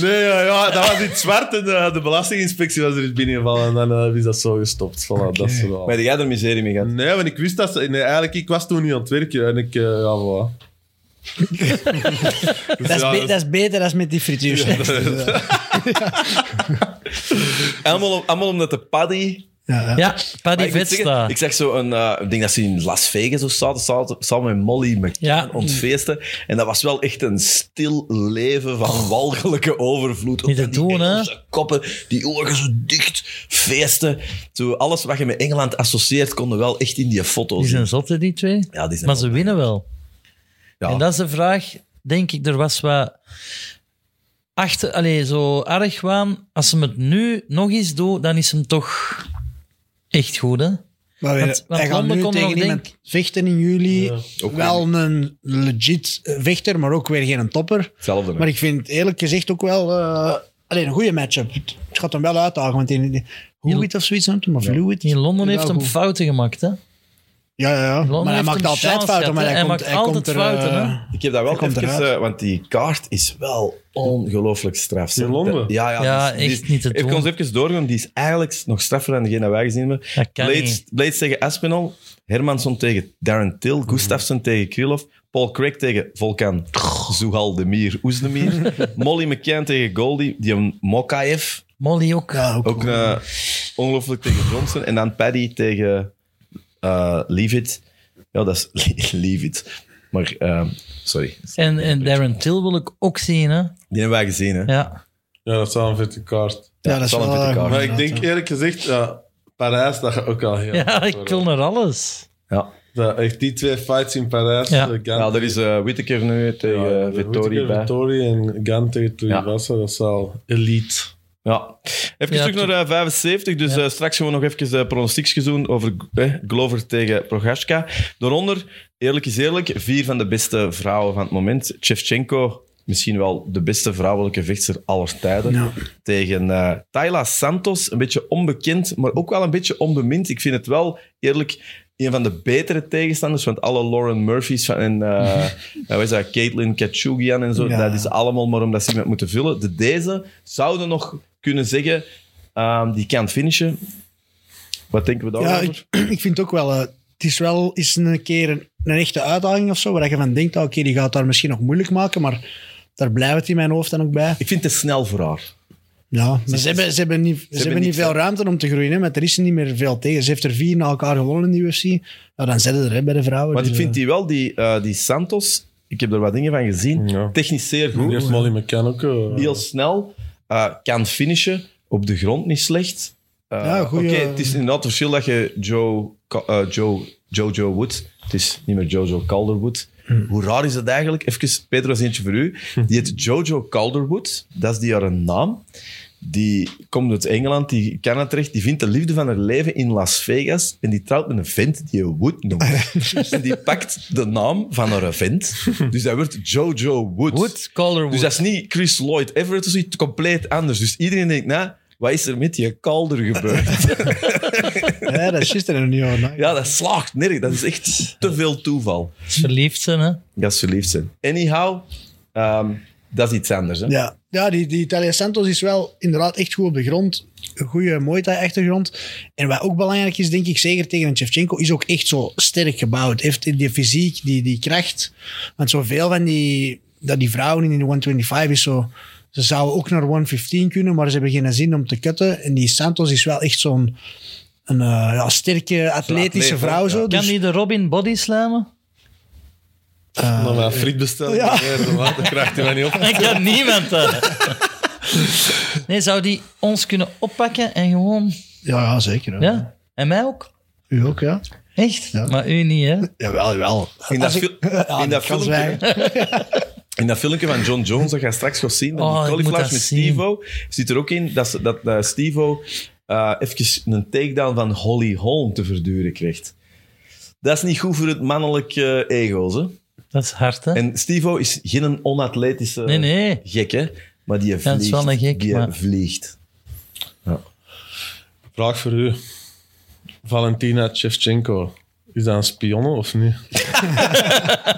S2: Nee, ja, ja, dat was iets zwart en de, de belastinginspectie was er iets binnengevallen en dan eh, is dat zo gestopt. Voilà, dat is het wel.
S1: Maar jij er miserie mee gaat.
S2: Nee, want ik wist dat ze... Nee, eigenlijk, ik was toen niet aan het werken en ik... eh, ja, voilà. Dus
S3: Dat is,
S2: ja,
S3: be- dat is beter dan met die frituur. Ja,
S1: Allemaal, om- allemaal omdat de paddy...
S3: ja.
S4: Ja,
S1: Maar
S4: Paddy
S1: ik, moet zeggen,
S4: Vetsta.
S1: ik zag zo een... eh, ik denk dat ze in Las Vegas of zaten, zaten samen met Molly McCann
S4: Ja. Mm.
S1: ontfeesten. En dat was wel echt een stil leven van walgelijke overvloed. Ook
S4: Oh. Niet te
S1: van die
S4: doen, hè?
S1: Engelse koppen, die ogen zo dicht, feesten. Zo, alles wat je met Engeland associeert, konden wel echt in die foto's
S4: Die
S1: zien.
S4: zijn zotte, die twee.
S1: Ja, die zijn
S4: maar ze winnen wel.
S1: Ja.
S4: En dat is de vraag. denk ik, er was wat achter, allez, zo argwaan. Als ze het nu nog eens doen, dan is hem toch echt goed, hè?
S3: Maar we,
S4: Want- want
S3: hij gaat
S4: Londen
S3: nu
S4: kon
S3: tegen
S4: nog
S3: iemand vechten in juli. wel een legit eh, vechter, maar ook weer geen topper.
S1: Hetzelfde. hè?
S3: Maar ik vind eerlijk gezegd ook wel eh, alleen een goede matchup. Het het gaat hem wel uitdagen, want die, die Hewitt of zoiets noemt hem, maar Fluid.
S4: In Londen
S3: Ja,
S4: heeft hem
S3: goed.
S4: fouten gemaakt, hè?
S3: Ja, ja, ja.
S4: Londen
S3: Maar hij
S4: heeft
S3: maakt
S4: hem
S3: altijd
S4: chance
S3: fouten,
S4: gehad,
S3: maar
S4: hè.
S3: hij,
S4: Hij
S3: komt,
S4: maakt
S3: hij komt
S4: altijd
S3: er...
S4: fouten,
S3: eh,
S4: hè.
S1: Ik heb dat wel
S3: Hij komt
S1: even,
S3: eruit.
S1: eh, want die kaart is wel ongelooflijk straf. zeg.
S2: In Londen?
S1: Ja, dus- ja,
S4: Ja,
S1: die is-
S4: echt
S1: die-
S4: niet te
S1: Ik
S4: doen.
S1: kon ze even doorgaan, die is eigenlijk nog straffer dan degene dat wij gezien hebben.
S4: Dat kan
S1: Blades,
S4: niet.
S1: Blades tegen Aspinall, Hermanson tegen Darren Till,
S4: Mhm.
S1: Gustafsson tegen Krylov, Paul Craig tegen Volkan Zuhal Demir Oezdemir, Molly McCann tegen Goldie, die een Mokaev,
S4: Molly ook.
S3: ja, ook,
S1: ook eh, ongelooflijk tegen Johnson, en dan Paddy tegen eh Leavitt. Ja, dat is Leavitt. Maar, eh, sorry.
S4: En, en Darren Till wil ik ook zien, hè?
S1: Die hebben wij gezien, hè?
S4: Ja.
S2: Ja, dat is wel een vette kaart.
S3: ja, dat is
S1: zal
S3: wel...
S1: een witte
S3: eh,
S1: kaart.
S2: Maar ik
S3: inderdaad,
S2: denk
S3: ja.
S2: eerlijk gezegd, ja, Parijs, dat gaat ook al heel
S4: Ja,
S2: hard
S4: ik
S2: worden.
S4: wil naar alles.
S1: Ja,
S2: Ja, echt die twee fights in Parijs.
S4: Ja.
S2: de Gant-
S1: ja er is eh Whittaker nu tegen
S2: ja,
S1: eh,
S2: de
S1: Vettori
S2: Whittaker,
S1: bij.
S2: Vettori en Gant tegen Tuivasa, dat is al elite.
S1: Ja. Even
S4: Ja,
S1: terug naar eh, 75. Dus eh, straks gewoon nog even eh pronostiekjes doen over eh, Glover tegen Prochaska. Daaronder, eerlijk is eerlijk, vier van de beste vrouwen van het moment. Shevchenko, misschien wel de beste vrouwelijke vechtster aller tijden.
S3: Ja.
S1: Tegen eh Tayla Santos, een beetje onbekend, maar ook wel een beetje onbemind. Ik vind het wel, eerlijk... Een van de betere tegenstanders, want alle Lauren Murphy's van- en eh wat is dat, Caitlin Kachugian en zo,
S3: Ja.
S1: dat is allemaal maar omdat ze iemand moeten vullen. De deze zouden nog kunnen zeggen, ehm, die kan finishen. Wat denken we
S3: Ja,
S1: daarover?
S3: ik, ik vind het ook wel... eh, het is wel eens een keer een, een echte uitdaging of zo, waar je van denkt, ah, oké, die gaat daar misschien nog moeilijk maken, maar daar blijft het in mijn hoofd dan ook bij.
S1: Ik vind het te snel voor haar.
S3: Ja, maar ze, hebben, ze, hebben niet, ze, hebben niet
S1: niks,
S3: veel
S1: hè.
S3: ruimte om te groeien, hè, maar er is niet meer veel tegen. Ze heeft er vier na elkaar gewonnen in de UFC. Ja, dan zetten ze er hè, bij de vrouwen.
S1: Want
S3: Dus,
S1: ik vind
S3: eh,
S1: die wel, die, eh, die Santos, ik heb er wat dingen van gezien,
S2: Ja.
S1: technisch zeer goed,
S2: Eerst Molly McCann ook. eh,
S1: heel snel, eh, kan finishen, op de grond niet slecht. Eh,
S3: Ja, goeie-
S1: Oké, het is inderdaad het verschil dat je Joe, Ca- eh, Joe, Jojo Wood, het is niet meer Jojo Calderwood.
S3: Hm.
S1: Hoe raar is dat eigenlijk? Even, Pedro, is eentje voor u. Die heet Jojo Calderwood, dat is die haar naam. Die komt uit Engeland, die kan het terecht. Die vindt de liefde van haar leven in Las Vegas. En die trouwt met een vent die je Wood noemt. en die pakt de naam van haar vent. Dus dat wordt Jojo Wood.
S4: Wood, Calderwood.
S1: Dus dat is niet Chris Lloyd Everett, dat is iets compleet anders. Dus iedereen denkt, nou, wat is er met je Calder gebeurd?
S3: ja, dat is gisteren nog niet hoor. hè.
S1: ja, dat slaagt nergens. Dat is echt te veel toeval.
S4: Verliefd zijn, hè?
S1: Dat ze lief zijn. Anyhow, ehm, dat is iets anders. Hè?
S3: Ja, ja die, die Italia Santos is wel inderdaad echt goed op de grond. Een goede Muay Thai-achtergrond. En wat ook belangrijk is, denk ik, zeker tegen een Shevchenko, is ook echt zo sterk gebouwd. Heeft die fysiek, die, die kracht. Want zoveel van die, dat die vrouwen in de 125 is zo... Ze zouden ook naar 115 kunnen, maar ze hebben geen zin om te kutten. En die Santos is wel echt zo'n een, eh, ja, sterke,
S1: atleet,
S3: atletische
S1: hè?
S3: vrouw. Zo.
S4: Kan
S3: Dus-
S4: die de Robin body slammen?
S2: nog maar friet bestellen.
S3: Ah, Ja.
S2: Ja. dan krijgt hij mij niet op.
S4: Dat kan niemand. hè. Nee, zou die ons kunnen oppakken en gewoon...
S3: ja, ja, zeker. hè.
S4: Ja? En mij ook?
S3: U ook, ja.
S4: Echt?
S3: Ja.
S4: Maar u niet, hè?
S3: Jawel, jawel.
S1: In dat,
S3: Als ik-
S1: fil-
S3: Ja,
S1: in, dat
S3: dat kan
S1: filmpje,
S3: zwijgen.
S1: in dat filmpje van John Jones, dat ga je straks nog zien, dat
S4: Oh,
S1: die
S4: ik moet
S1: cauliflowers
S4: dat
S1: met
S4: zien.
S1: Stevo, zit er ook in dat, ze- dat eh, Stevo eh even een takedown van Holly Holm te verduren krijgt. Dat is niet goed voor het mannelijke eh, ego's. Hè?
S4: Dat is hard, hè?
S1: En eh, Stevo is geen onatletische
S4: Nee, nee.
S1: gek, hè? Maar die vliegt.
S4: dat is wel een gek,
S1: die
S4: maar-
S1: vliegt.
S2: Vraag voor u. Valentina Shevchenko. Is dat een spionne of niet?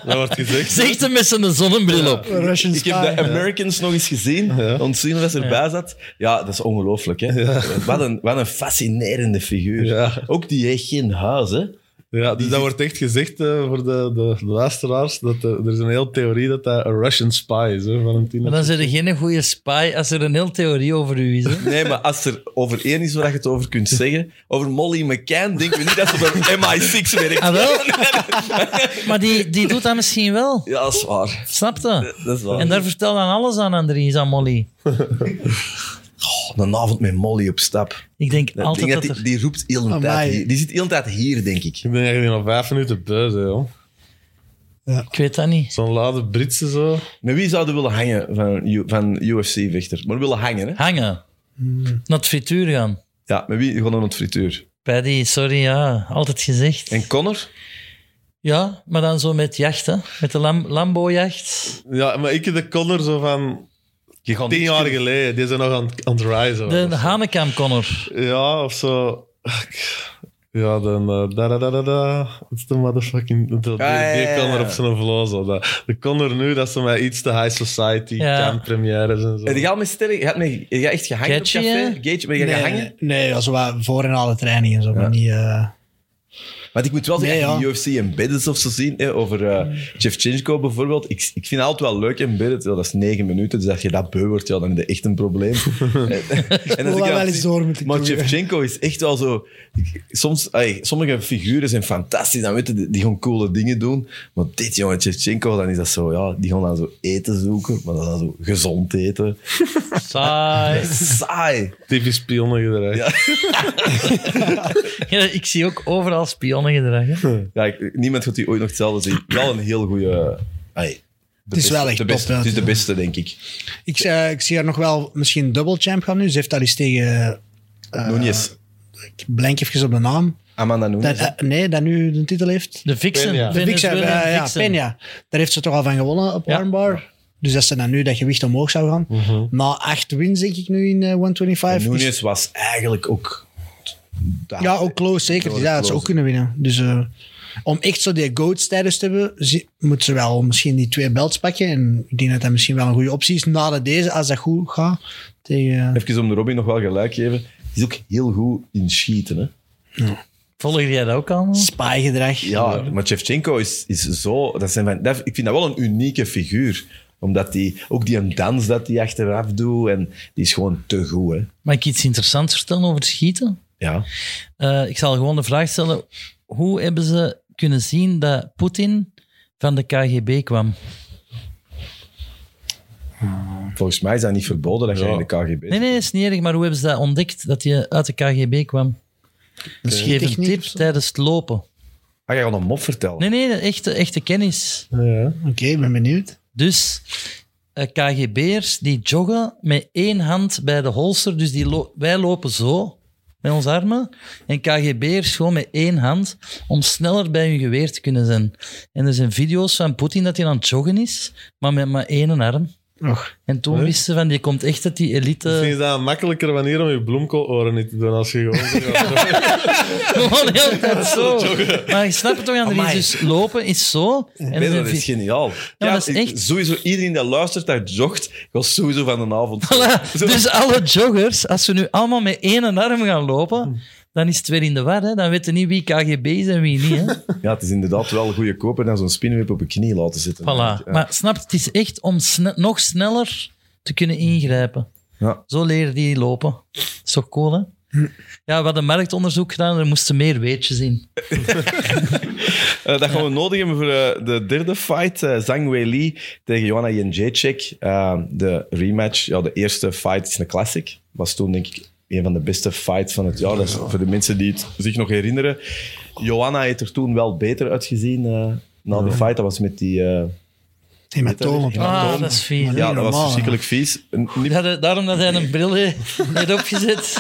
S2: dat wordt gezegd.
S4: Zegt hem met zijn zonnebril op.
S3: Russian
S1: Ik heb
S3: Spy.
S1: de Americans nog eens gezien, ontzien wat erbij zat. Ja, dat is ongelooflijk, hè? Wat, een, wat een fascinerende figuur.
S2: Ja.
S1: Ook die heeft geen huis, hè?
S2: Ja, dus dat wordt echt gezegd eh, voor de, de, de luisteraars. Dat eh, er is een hele theorie dat dat een Russian spy is, hè, Valentina.
S4: Maar dan zijn er geen goede spy als er een heel theorie over u is. Hè?
S1: Nee, maar als er over één is waar je het over kunt zeggen, over Molly McCann, denken we niet dat ze bij MI6 werkt.
S4: Ah, wel? Maar die, die doet dat misschien wel.
S1: Ja, dat is waar.
S4: Snap je?
S1: Dat is waar.
S4: En daar vertel dan alles aan Andries, aan Molly.
S1: Oh, een avond met Molly op stap.
S4: Ik denk
S1: Dat
S4: altijd
S1: ding
S4: dat
S1: dat die,
S4: er...
S1: die roept heel de tijd
S3: Amai.
S1: hier. Die zit heel de tijd hier, denk ik.
S2: Ik denk dat je die nog vijf minuten buiten, joh.
S4: Ik weet dat niet.
S2: Zo'n lade Britse zo.
S1: Met wie zouden willen hangen van, U- van UFC-vechter? Maar willen hangen, hè?
S4: Hangen. Naar het frituur gaan.
S1: Ja, met wie gewoon aan het frituur?
S4: Paddy, sorry, ja. Altijd gezegd.
S1: En Connor?
S4: Ja, maar dan zo met jacht, hè. Met de lam Lambo-jacht.
S2: Ja, maar ik heb de Connor zo van
S1: Je gaat
S2: tien
S1: niks
S2: jaar
S1: kunnen-
S2: geleden. Die zijn nog aan, het- aan het rijzen.
S4: De Hanekam-Connor.
S2: Ja, of zo. Ja, dan eh, da da da da da. Dat is de motherfucking. dat- die,
S1: ja,
S2: die
S1: ja, ja.
S2: Connor op zijn vlo. Zo. Dat- De Connor nu, dat ze mij iets te high society
S4: Ja.
S2: ja. premières en zo.
S1: Heb jij al met sterren? Je hebt met- heb jij echt gehangen
S4: Gaethje,
S1: op café?
S4: hè?
S1: Gaethje, ben je
S3: nee,
S1: gehangen?
S3: Nee, ja, zo wat voor en na de training en zo. Maar niet, eh,
S1: Want ik moet wel zeggen,
S3: Nee,
S1: als
S3: ja.
S1: die UFC en Biddens of zo zien, hè, over eh, Jeff Chinchko bijvoorbeeld. Ik, ik vind het altijd wel leuk in Biddens. Ja, dat is negen minuten, dus als je dat beu wordt, ja, dan heb je echt een probleem. Eh, en, en
S3: dat
S1: ik
S3: wel
S1: dan
S3: eens
S1: zie-
S3: door moeten
S1: Maar
S3: doen, ja.
S1: Shevchenko is echt wel zo... ik- Soms, ey, sommige figuren zijn fantastisch, dan weten die, die gaan coole dingen doen. Maar dit jongen, Shevchenko, dan is dat zo, ja, die gaan dan zo eten zoeken, maar dan zo gezond eten.
S4: Saai.
S1: Saai!
S2: Typisch pionnengedrag.
S1: Ja.
S4: Ja, ik zie ook overal spionnengedrag, hè.
S1: Ja, ik- niemand gaat die ooit nog hetzelfde zien. Wel een heel goede. Het
S3: Het is wel echt
S1: de
S3: top,
S1: beste,
S3: ja.
S1: Het is de beste, denk ik.
S3: ik, eh, ik zie haar nog wel misschien dubbelchamp gaan nu. Ze heeft al eens tegen... eh,
S1: Nunes.
S3: ik blank even op de naam.
S1: Amanda Nunes.
S3: Dat, eh, nee, dat nu de titel heeft.
S4: De Vixen.
S2: Peña.
S3: De Vixen,
S4: Venezuelan
S3: eh, ja,
S4: Vixen.
S3: Peña. Daar heeft ze toch al van gewonnen op
S4: Ja.
S3: armbar. Dus als ze dan nu dat gewicht omhoog zou gaan. Na acht wins, denk ik Mhm. nu in eh, 125.
S1: En Nunes was eigenlijk ook.
S3: Is- ja, ook close zeker.
S1: Ah, Close,
S3: ja, dat ze
S1: close.
S3: ook kunnen winnen. Dus eh, om echt zo die goat status te hebben, zie- moet ze wel misschien die twee belts pakken. En ik denk dat dat misschien wel een goede optie is. Nadat deze, als dat goed gaat, tegen...
S1: Even om de Robin nog wel gelijk te geven. Die is ook heel goed in schieten. Hè?
S4: Volg jij dat ook allemaal?
S3: Spy-gedrag.
S1: Ja, maar Shevchenko is, is zo. Dat zijn van, dat, ik vind dat wel een unieke figuur. Omdat die, ook die een dans dat hij achteraf doet. En die is gewoon te goed. Hè?
S4: Mag ik iets interessants vertellen over schieten?
S1: Ja.
S4: Eh, ik zal gewoon de vraag stellen. Hoe hebben ze kunnen zien dat Poetin van de KGB kwam?
S1: Volgens mij is dat niet verboden dat je
S2: Ja.
S1: in de KGB.
S4: Nee, nee, is niet erg, maar hoe hebben ze dat ontdekt, dat je uit de KGB kwam? Dus geef een
S3: Schietechniek
S4: tip
S3: of zo?
S4: tijdens het lopen.
S1: Ah, jij gaat een mop vertellen.
S4: Nee, nee, echte, echte kennis.
S2: Ja.
S3: Oké, ik ben benieuwd.
S4: Dus eh, KGB'ers die joggen met één hand bij de holster. Dus die lo- wij lopen zo met onze armen. En KGB'ers gewoon met één hand om sneller bij hun geweer te kunnen zijn. En er zijn video's van Poetin dat hij aan het joggen is, maar met maar één arm.
S3: Och,
S4: En toen wisten ze van, die komt echt uit die
S2: Misschien
S4: elite...
S2: is dat een makkelijker manier om je bloemkooloren niet te doen als je gewoon... zo gaat-
S4: Gewoon heel de tijd zo. Maar je snapt het toch, Andries?
S3: Amai.
S4: Dus lopen is zo. En er
S1: Nee,
S4: zijn
S1: dat
S4: vi-
S1: is geniaal.
S4: Ja, dat
S1: ik-
S4: is echt-
S1: Sowieso iedereen die luistert, dat jogt, was sowieso van de avond. Zo-
S4: Dus alle joggers, als ze nu allemaal met één arm gaan
S1: Hmm.
S4: lopen, dan is het weer in de war. Hè? Dan weten niet wie KGB is en wie niet. Hè?
S1: Ja, het is inderdaad wel een goede koper dan zo'n spinnenweb op je knie laten zitten.
S4: Voilà.
S1: Ja.
S4: Maar snap, je, het is echt om sne- nog sneller te kunnen ingrijpen.
S1: Ja.
S4: Zo leren die lopen. Zo cool, hè? Ja, we hadden marktonderzoek gedaan, er moesten meer weetjes in.
S1: Eh, dat gaan we nodig hebben voor eh, de derde fight. eh Zhang Weili tegen Joanna Jędrzejczyk. Eh, de rematch, ja, de eerste fight is een classic. Was toen, denk ik, een van de beste fights van het jaar. Dat is voor de mensen die het zich nog herinneren. Joanna heeft er toen wel beter uitgezien eh, na die fight. Dat was met die... eh,
S3: hematoom op
S4: Ah, dat is vies.
S1: ja, dat was
S3: normaal,
S1: verschrikkelijk vies. Een- niet-
S4: Ja, de- daarom dat hij een bril he- heeft opgezet.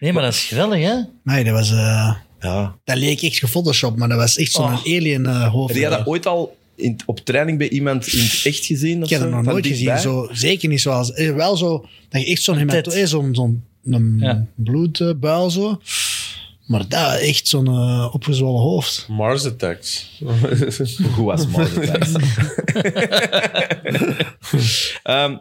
S4: Nee, maar dat is grellig, hè?
S3: Nee, dat was... eh,
S1: Ja,
S3: dat leek echt gefotoshopt, maar dat was echt zo'n
S4: Oh.
S3: alien eh, hoofd.
S1: Heb jij dat
S3: Eh,
S1: ooit al in, op training bij iemand in het echt gezien? of
S3: Ik heb dat
S1: zo?
S3: nog
S1: Van
S3: nooit gezien.
S1: dichtbij?
S3: Zo, zeker niet zoals... eh, Wel zo... Dat je echt zo'n
S4: tet.
S3: hematoom... eh, Zo'n zo'n een
S4: Ja.
S3: bloedbuil zo. Maar dat, echt zo'n eh, opgezwollen hoofd.
S2: Mars Attacks.
S1: Hoe was Mars Attacks? Ehm,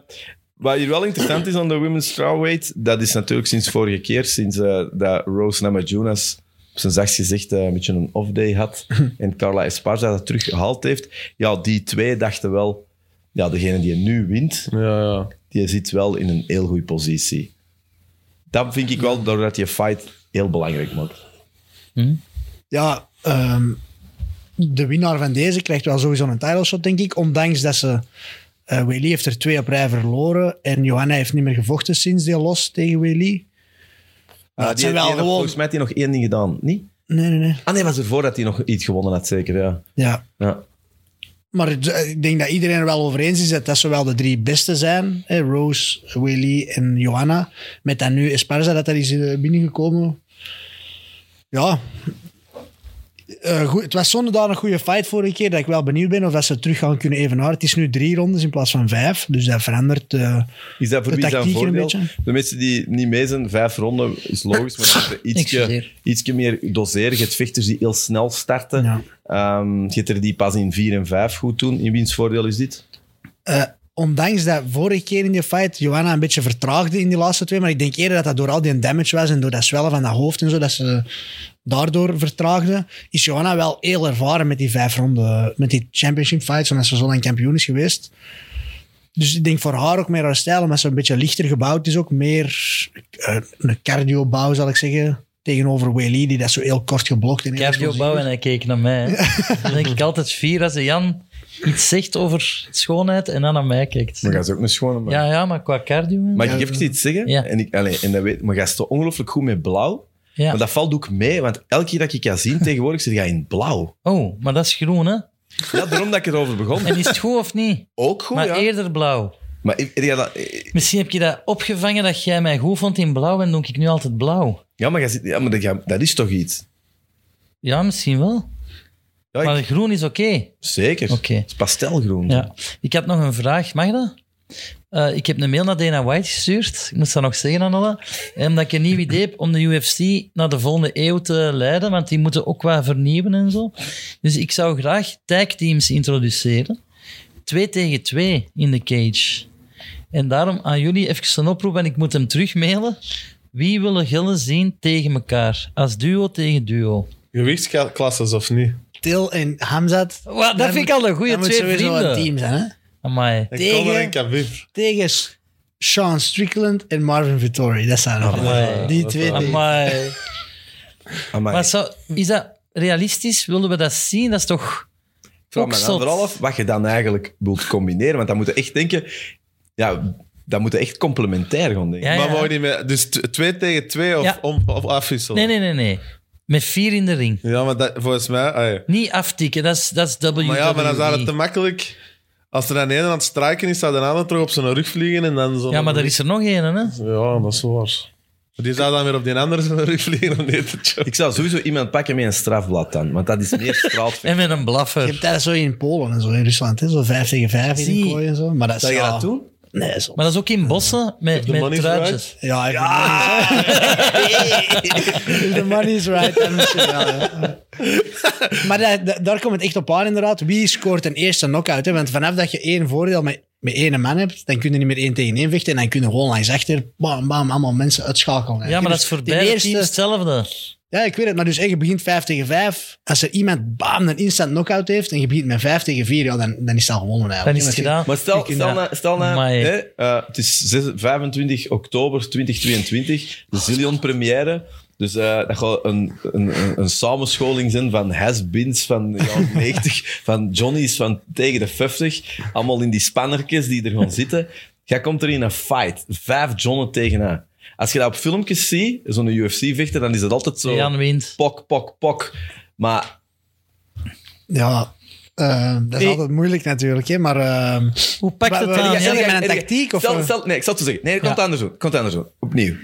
S1: wat hier wel interessant is aan de women's strawweight, dat is natuurlijk sinds vorige keer, sinds eh, dat Rose Namajunas op zijn zachtst gezegd eh, een beetje een off-day had en Carla Esparza dat teruggehaald heeft. Ja, die twee dachten wel, ja, degene die nu wint,
S2: Ja, ja.
S1: die zit wel in een heel goede positie. Dat vind ik wel, doordat je fight heel belangrijk maakt.
S3: ja, ehm, de winnaar van deze krijgt wel sowieso een title shot, denk ik. Ondanks dat ze. eh Weili heeft er twee op rij verloren. En Johanna heeft niet meer gevochten sinds die los tegen Weili.
S1: Ah,
S3: het
S1: die, die
S3: zijn wel
S1: heeft nog-
S3: gewoon-
S1: Volgens mij had hij nog één ding gedaan, niet?
S3: Nee, nee, nee.
S1: Ah nee, was ervoor dat hij nog iets gewonnen had, zeker, ja.
S3: Ja,
S1: ja.
S3: Maar het- ik denk dat iedereen er wel over eens is dat dat zowel de drie beste zijn. Hè? Rose, Willy en Johanna. Met dan nu Esparza dat daar is eh, binnengekomen. Ja. Eh, goed, het was zonder daar een goede fight vorige keer. Dat ik wel benieuwd ben of dat ze terug gaan kunnen evenaren. Het is nu drie rondes in plaats van vijf. Dus dat verandert. eh,
S1: Is dat voor
S3: De
S1: wie zijn
S3: tactiek een
S1: voordeel?
S3: beetje.
S1: De mensen die niet mee zijn, vijf ronden is logisch, maar dan heb je ietsje,
S4: Excuseer.
S1: ietsje meer doseren. Je hebt vechters die heel snel starten.
S3: Ja.
S1: Ehm, je hebt er die pas in vier en vijf goed doen. In wiens voordeel is dit?
S3: Eh, ondanks dat vorige keer in die fight Johanna een beetje vertraagde in die laatste twee, maar ik denk eerder dat dat door al die damage was en door dat zwellen van dat hoofd en zo, dat ze daardoor vertraagde, is Johanna wel heel ervaren met die vijf ronden, met die championship fights, omdat ze zo lang kampioen is geweest. Dus ik denk voor haar ook meer haar stijl, omdat ze een beetje lichter gebouwd is ook, meer eh, een cardio-bouw zal ik zeggen, tegenover Weili, die dat zo heel kort geblokt en heel
S4: Cardio
S3: explosief
S4: bouwen
S3: is.
S4: en hij keek naar mij. hè. Dan denk ik altijd fier als de Jan iets zegt over schoonheid en dan naar mij kijkt.
S1: Maar ga ze ook een schone man.
S4: Ja, ja, maar qua cardio...
S1: Mag ik even iets zeggen?
S4: Ja.
S1: En ik, allee, en dat weet, maar jij is zo ongelooflijk goed met blauw.
S4: Ja.
S1: Maar dat valt ook mee, want elke keer dat ik je zie tegenwoordig, zit jij in blauw.
S4: Oh, maar dat is groen, hè?
S1: Ja, daarom dat ik erover begon.
S4: En is het goed of niet?
S1: Ook goed,
S4: maar
S1: ja.
S4: eerder blauw.
S1: Maar ik- ik- ja, dat-
S4: Misschien heb je dat opgevangen dat jij mij goed vond in blauw en doe ik nu altijd blauw.
S1: ja, maar, jij zit, ja, maar dat, ja, dat is toch iets?
S4: Ja, misschien wel.
S1: Ja, ik-
S4: Maar groen is oké.
S1: zeker.
S4: Oké.
S1: Het is pastelgroen.
S4: Ja. Ik heb nog een vraag, mag dat? Eh, ik heb een mail naar Dana White gestuurd. Ik moest dat nog zeggen aan alle. En Omdat ik een nieuw idee heb om de UFC naar de volgende eeuw te leiden. Want die moeten ook wat vernieuwen en zo. Dus ik zou graag tagteams introduceren. Twee tegen twee in de cage. En daarom aan jullie even een oproep. En ik moet hem terugmailen. Wie willen gillen zien tegen elkaar? Als duo tegen duo.
S2: Gewichtsklasses of niet?
S3: Til en Hamzat.
S4: Wa, dat vind ik al een goeie,
S3: dat moet
S4: twee
S3: sowieso
S4: vrienden.
S3: een team zijn, hè?
S4: Amai.
S2: Ik
S3: Tegen-
S2: kom er een Khabib.
S3: tegen Sean Strickland en Marvin Vittori. Dat zijn
S4: Ah,
S3: er.
S2: Amai.
S3: die
S2: Dat
S3: twee.
S2: wel.
S3: dingen.
S4: Amai.
S1: Amai.
S4: Maar zou- is dat realistisch? Willen we dat zien? Dat is toch...
S1: Ik vraag
S4: Ook
S1: me dan
S4: zot.
S1: vooral af wat je dan eigenlijk wilt combineren. Want dan moet je echt denken... Ja, dat moet je echt complementair gaan denken.
S4: Ja,
S2: maar
S4: Ah, ja.
S2: mogen die met, dus t- twee tegen twee of,
S4: Ja.
S2: om, of afwisselen?
S4: Nee, nee, nee, nee. Met vier in de ring.
S2: Ja, maar dat, volgens mij... ah, ja.
S4: Niet aftikken, dat is, dat is E. WWE.
S2: Maar ja, maar dan zou het te makkelijk... Als er dan een aan het strijken is, zou de ander terug op zijn rug vliegen en dan zo...
S4: Ja, maar er is er nog één, hè?
S2: Ja, dat is waar. Maar Die zou dan weer op die andere zijn rug vliegen om dit te checken.
S1: Ik zou sowieso iemand pakken met een strafblad dan. Want dat is meer straalvecht.
S4: En met een
S3: Je
S4: blaffer.
S3: hebt dat zo in Polen en zo in Rusland, hè? zo 5 tegen 5 in
S4: Zie.
S3: de kooi en zo. Maar dat
S1: Zou je
S3: ja,
S1: dat doen?
S3: Nee, zo.
S4: Maar dat is ook in bossen met,
S2: de
S4: met
S2: money's
S4: truitjes.
S3: Ja, ik If the money is right, dan misschien wel. ja. Maar dat- dat- daar komt het echt op aan, inderdaad. Wie scoort een eerste knock-out? Hè? Want vanaf dat je één voordeel met, met één man hebt, dan kun je niet meer één tegen één vechten. En dan kun je gewoon langs achter, bam, bam, allemaal mensen uitschakelen.
S4: Ja, maar dat is
S3: Dus
S4: voor
S3: die
S4: beide
S3: eerste-
S4: teams hetzelfde.
S3: Ja, ik weet het. Maar dus echt, je begint 5 tegen 5. Als er iemand bam een instant knockout heeft en je begint met 5 tegen 4, ja, dan, dan is dat gewonnen eigenlijk.
S4: Dan is het
S3: Ja,
S4: gedaan.
S1: Maar stel,
S4: Je kunt
S1: stel,
S4: dat-
S1: nou, stel nou,
S4: Amai.
S1: hè, eh, het is zes- 25 oktober 2022, de Zillion première. Dus eh, dat gaat een, een, een, een samenscholing zijn van has-beens van de jaren 90, van Johnny's van tegen de 50. Allemaal in die spannertjes die er gewoon zitten. Jij komt er in een fight, vijf Johnnen tegenaan. Als je dat op filmpjes ziet, zo'n UFC-vechter, dan is dat altijd zo...
S4: Jan wint.
S1: Pok, pok, pok. Maar
S3: Ja, eh, dat is
S1: Nee.
S3: altijd moeilijk natuurlijk. Hè, maar ehm,
S4: Hoe pakt
S3: Maar-
S4: het
S3: maar-
S4: aan?
S3: ja,
S4: Ja,
S3: ja,
S1: Zeg,
S3: met een
S1: zeg,
S3: tactiek, of- eh,
S1: stel- stel- nee, ik zal het zo zeggen. Nee, dat komt
S4: Ja.
S1: andersom. Komt andersom. Opnieuw.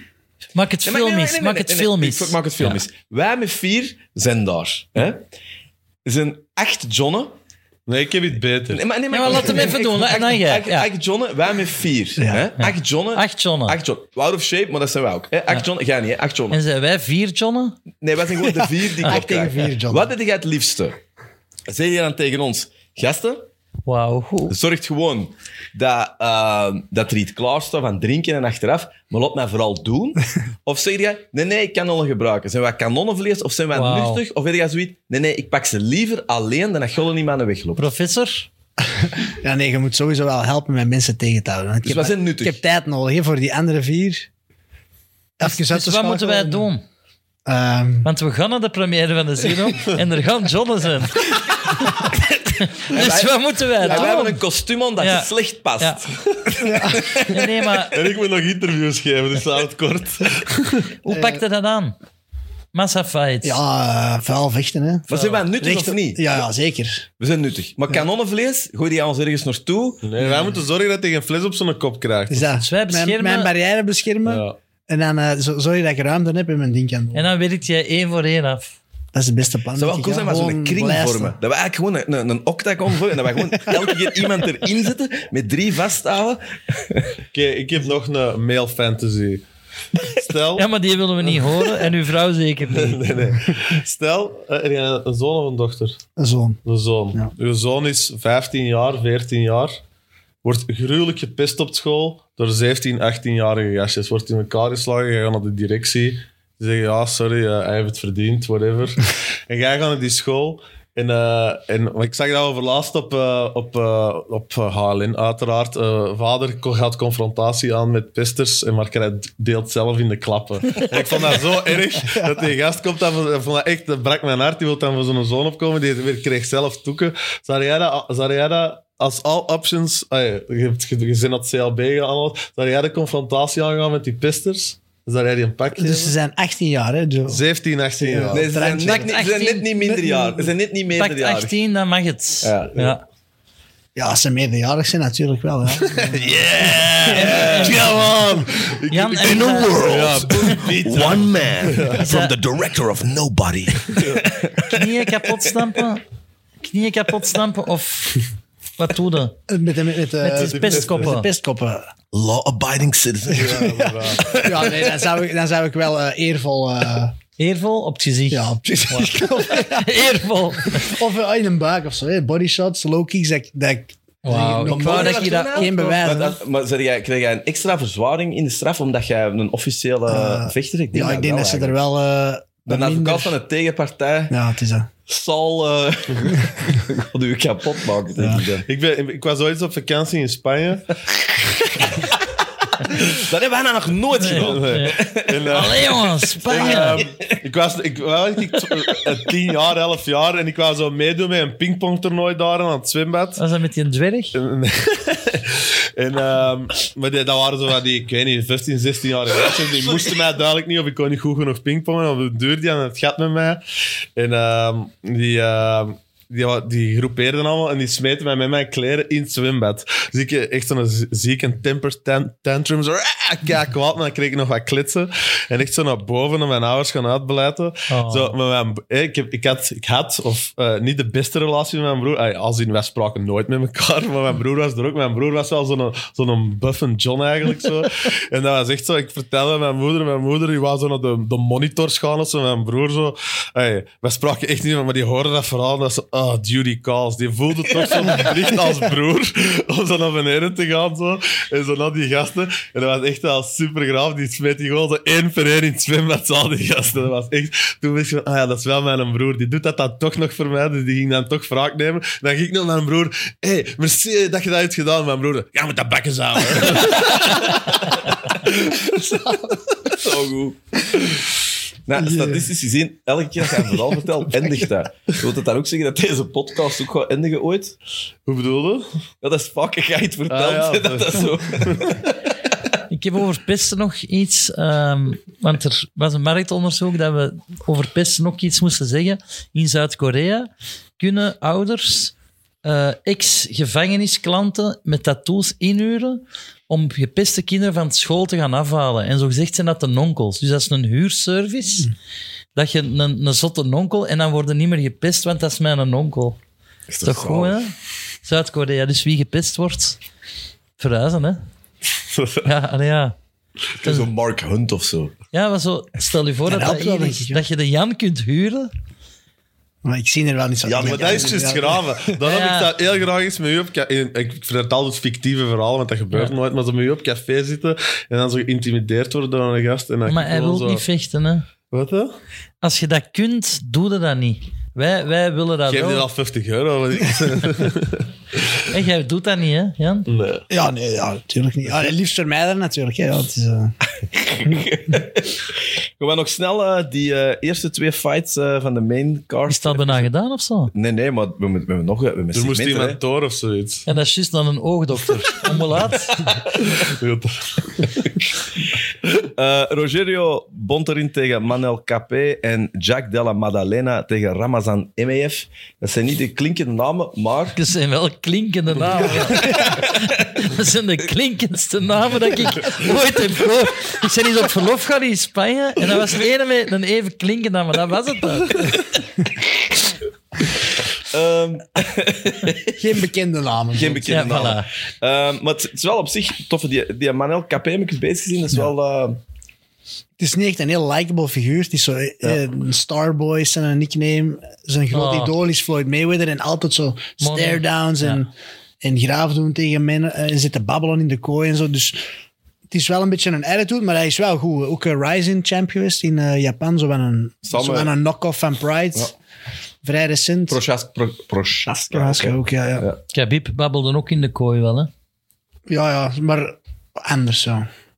S4: Maak het
S1: Nee, maar- nee, nee,
S4: filmisch.
S1: nee,
S4: Maak
S1: nee,
S4: het
S1: nee, nee.
S4: filmisch.
S1: Ik Maak het filmisch. Wij met vier zijn daar. Hè? Er zijn acht Johnnen.
S2: Nee, ik heb iets beter.
S1: Nee, maar, nee,
S4: Ja, maar laat hem even doen, hè. En dan jij.
S1: Acht,
S4: Ja.
S1: acht Johnnen, wij met vier. Hè? Acht Johnnen.
S4: Acht Jonnen.
S1: Acht Johnnen. We're out of shape, maar dat zijn wij ook. Hè? Acht Johnnen. Jij niet, hè? Acht Johnnen.
S4: En zijn wij vier Jonnen?
S1: Nee, wij zijn gewoon de vier die ik
S3: tegen vier Johnnen.
S1: Wat deed jij het liefste? Zeg je dan tegen ons, gasten,
S4: Wauw, goed.
S1: Zorgt gewoon dat, ehm, dat er iets klaar staat van drinken en achteraf. Maar laat mij vooral doen. Of zeg jij, nee, nee, ik kan alle gebruiken. Zijn wij kanonnenvlees of zijn wij
S4: Wauw.
S1: nuchtig? Of weet jij zoiets? Nee, nee, ik pak ze liever alleen dan dat gullen niet meer aan de weg loopt.
S4: Professor?
S3: ja, nee, je moet sowieso wel helpen met mensen tegen te houden. Want ik
S1: Dus wij
S3: heb-
S1: zijn nuttig.
S3: Ik heb tijd nodig hè, voor die andere vier. Even uit
S4: Dus
S3: te
S4: wat moeten wij
S3: schakelen.
S4: doen?
S3: Ehm,
S4: Want we gaan naar de première van de Zero en er gaan Jonnen zijn. dus wat moeten wij
S1: En wij
S4: doen?
S1: hebben een kostuum aan dat
S4: Ja.
S1: slecht past.
S4: Ja. Nee, nee, maar
S2: En ik moet nog interviews geven, dus laat het kort.
S4: hoe pak je dat aan? Massafights.
S3: Ja, eh, vuil vechten, hè.
S1: Maar zijn wij nuttig
S3: Recht-
S1: of niet?
S3: Ja, ja, zeker. Dus
S1: We zijn nuttig. Maar kanonnenvlees, gooi die aan ons ergens naartoe.
S2: Nee, wij moeten zorgen dat hij geen fles op zijn kop krijgt.
S3: Dus dat,
S4: Dus wij
S3: mijn,
S4: beschermen-
S3: mijn barrière beschermen.
S2: Ja.
S3: En dan eh, zo- zorg dat ik ruimte heb in mijn ding kan doen.
S4: En dan werkt jij één voor één af.
S3: Dat is het beste plan.
S1: Het zou wel
S3: denk ik,
S1: cool
S3: ja.
S1: zijn, maar zo'n
S3: Gewoon
S1: kring
S3: lijsten.
S1: vormen. Dat we eigenlijk gewoon een, een, een octagon vormen. Dat we gewoon elke keer iemand erin zetten, met drie vasthouden.
S2: Oké, ik heb nog een male fantasy. Stel,
S4: Ja, maar die willen we niet horen. En uw vrouw zeker niet.
S2: nee, nee. Stel eh, heb jij een zoon of een dochter?
S3: Een zoon.
S2: Een zoon.
S3: Ja.
S2: Uw zoon is 15 jaar, 14 jaar. Wordt gruwelijk gepest op school door 17, 18-jarige gastjes. Wordt in elkaar geslagen, jij gaat naar de directie. Die zeggen, ja, sorry, eh, hij heeft het verdiend, whatever. en jij gaat naar die school. En, eh, en want ik zag dat overlaatst op, eh, op, eh, op eh, HLN, uiteraard. Eh, vader ko- gaat confrontatie aan met pesters, en maar hij deelt zelf in de klappen. En ik vond dat zo erg, dat die gast komt. Dat, vond- dat vond dat echt, dat brak mijn hart. Die wil dan voor zo'n zoon opkomen, die weer kreeg zelf toeken. Zou jij dat, zou jij dat als al options... ah, ja, je hebt gezien dat CLB gehaald. Zou jij de confrontatie aangaan met die pesters? Zou jij die een pak
S3: Dus ze
S2: geven?
S3: zijn 18 jaar, hè. Dus de-
S2: 17, 18 jaar.
S3: Oh,
S1: Nee, ze zijn,
S3: Trantje.
S1: net niet- ze zijn net niet minderjarig. Ze zijn net niet
S4: Pakt
S1: meerderjarig.
S4: 18, dan mag het.
S2: Ja.
S4: Ja.
S3: Ja, als ze meerderjarig zijn, natuurlijk wel. Hè.
S2: Come on!
S4: Jan, en, eh,
S2: Ja,
S5: One man from the director of nobody.
S4: knieën kapot stampen? Knieën kapot stampen of wat doe je?
S3: Met, de- met, eh,
S4: Met de pestkoppen.
S3: met de pestkoppen.
S5: Law-abiding citizen.
S3: Ja, nee, dan zou ik, dan zou ik wel eh, eervol... eh,
S4: Eervol op het gezicht.
S3: ja, op
S4: Eervol.
S3: Of eh, in een buik of zo. Hè. Body shots, low kicks. Dat, ik- dat ik
S4: Wauw,
S3: nog
S4: ik wou
S3: nooit
S4: dat je dat
S3: geen bewijs
S1: Maar,
S3: had.
S1: dat, maar zeg jij, krijg jij een extra verzwaring in de straf omdat jij een officiële
S3: Eh,
S1: vechter... Ik
S3: Ja, ik denk dat ze er
S1: eigenlijk.
S3: wel... eh,
S1: De
S3: wat minder-
S1: advocaat van de tegenpartij
S3: Ja, het is dat.
S1: zal eh gaat u kapot maken. denk ik dan.
S2: Ik, ben, ik was ooit op vakantie in Spanje.
S1: Dat hebben wij nou nog nooit gedaan.
S2: Nee. En, eh,
S4: Allee jongens,
S2: ik,
S4: Spanje.
S2: ehm, ik was, ik, wel, ik, ik- eh, tien jaar, elf jaar. En ik wou zo meedoen met een pingpongtoernooi daar aan het zwembad.
S4: Was dat met die dwerg?
S2: En, en, ehm, maar die, dat waren zo van die, ik weet niet, 15, 16 jaar gastjes. Die moesten mij duidelijk niet, of ik kon niet goed genoeg pingpongen. Of de deur die aan het gat met mij. En ehm, die, ehm, die, wa- die groepeerden allemaal en die smeten mij met mijn kleren in het zwembad. Dus ik eh, echt zo'n z- zieke temper tan- tantrum. Zo, "Ah, kijk wat, maar dan kreeg ik nog wat klitsen. En echt zo naar boven en mijn ouders gaan uitbeleiden.
S4: Oh.
S2: Zo, maar mijn, eh, ik, heb, ik, had, ik had of eh, niet de beste relatie met mijn broer. Ay, Als in, wij spraken nooit met elkaar, maar mijn broer was er ook. Mijn broer was wel zo'n zo'n buffen John eigenlijk. Zo. en dat was echt zo, ik vertelde mijn moeder, mijn moeder die was zo naar de, de monitors gaan of zo. Mijn broer zo, ay, wij spraken echt niet meer, maar die hoorde dat verhaal. en Dat ze, ah, duty calls. Die voelde toch zo'n plicht als broer om zo naar beneden te gaan. Zo. En zo naar die gasten. En dat was echt wel super graaf. Die smeet die gewoon zo één per één in het zwembad. Al die gasten. Dat was echt... Toen wist ik van, ah ja, dat is wel mijn broer. Die doet dat dan toch nog voor mij. Dus die ging dan toch wraak nemen. Dan ging ik naar mijn broer. Hé, hey, merci dat je dat hebt gedaan. Mijn broer, ja, maar dat bakken ze aan. hè."
S1: Zo goed. Nou, statistisch gezien, elke keer als hij een verhaal vertelt, eindigt dat. Wil dat dan ook zeggen dat deze podcast ook gaat eindigen ooit?
S2: Hoe bedoelde?
S1: Ja, dat is vaak ga je het verteld.
S2: Ah, ja,
S1: dat, dat zo.
S4: Ik heb over pesten nog iets, ehm, want er was een marktonderzoek dat we over pesten nog iets moesten zeggen. In Zuid-Korea kunnen ouders eh, ex-gevangenisklanten met tattoos inhuren om gepeste kinderen van school te gaan afhalen. En zo gezegd zijn dat de nonkels. Dus dat is een huurservice. Dat je een, een zotte nonkel en dan worden niet meer gepest, want dat is mijn onkel. Is toch goed, hè? Zuid-Korea. Dus wie gepest wordt, verhuizen, hè? Ja, allee, ja.
S1: Zo'n Mark Hunt of zo.
S4: Ja, maar zo, stel je voor dat,
S3: Dat
S4: dat,
S3: helpt wel,
S4: hier
S3: denk
S4: is,
S3: ik, ja.
S4: dat je de Jan kunt huren.
S3: Maar ik zie er wel niet zo
S2: Ja, maar dat is dus juist graven. Dan heb
S4: Ja.
S2: ik dat heel graag eens met u op... ca- Ik ik vertel dus fictieve verhalen, want dat gebeurt nooit. Maar zo met u op café zitten en dan zo geïntimideerd worden door een gast. En dan
S4: Maar hij
S2: gewoon
S4: wil
S2: zo-
S4: niet vechten. Hè.
S2: Wat hè?
S4: Als je dat kunt, doe je dat niet. Wij, wij willen dat
S2: Geef
S4: wel.
S2: die al 50 euro.
S4: En jij doet dat niet, hè, Jan?
S2: nee.
S3: Ja, nee, ja, natuurlijk niet. Ja, liefst vermijden natuurlijk. Hè. Ja, het is, eh,
S1: Gaan we nog snel eh, die eh, eerste twee fights eh, van de main card.
S4: Is dat bijna gedaan of zo?
S1: Nee, nee, maar we moeten we hebben nog... eh, We hebben
S2: Er moest
S1: segmenten,
S2: iemand
S1: hè.
S2: door of zoiets.
S4: Ja, dat is juist dan een oogdokter. Om hoe laat?
S2: Ja, dat-
S1: Eh, Rogerio Bonterin tegen Manel Capé en Jack Della Maddalena tegen Ramazan MEF. Dat zijn niet de klinkende namen, maar
S4: Dat zijn wel klinkende namen. dat zijn de klinkendste namen dat ik ooit heb gehoord. Ik ben eens op verlof gaan in Spanje en dat was de ene met een even klinkende naam, maar dat was het dan.
S1: ehm,
S3: Geen bekende namen.
S1: geen bekende
S4: Ja, voilà.
S1: namen. Ehm, maar het, het is wel op zich tof. Die, die Manel Capé heb ik eens bezig gezien. Dat is wel... eh,
S3: Het is niet echt een heel likable figuur. Het is zo eh, een Starboy, is zijn nickname. Zijn groot
S4: Oh.
S3: idool is Floyd Mayweather. En altijd zo
S4: Mono.
S3: stare-downs en, en graaf doen tegen men. eh, En zitten babbelen in de kooi en zo. Dus het is wel een beetje een attitude, maar hij is wel goed. Ook een Rising champ geweest in eh, Japan. Zo van een, zo
S1: Samen-
S3: van een knock-off van Pride. Vrij recent.
S1: Prochas- pro- Prochaska.
S3: Prochaska
S1: oké.
S3: ook, ja, ja.
S1: Ja.
S4: Khabib babbelde ook in de kooi wel, hè.
S3: Ja, ja, maar anders zo.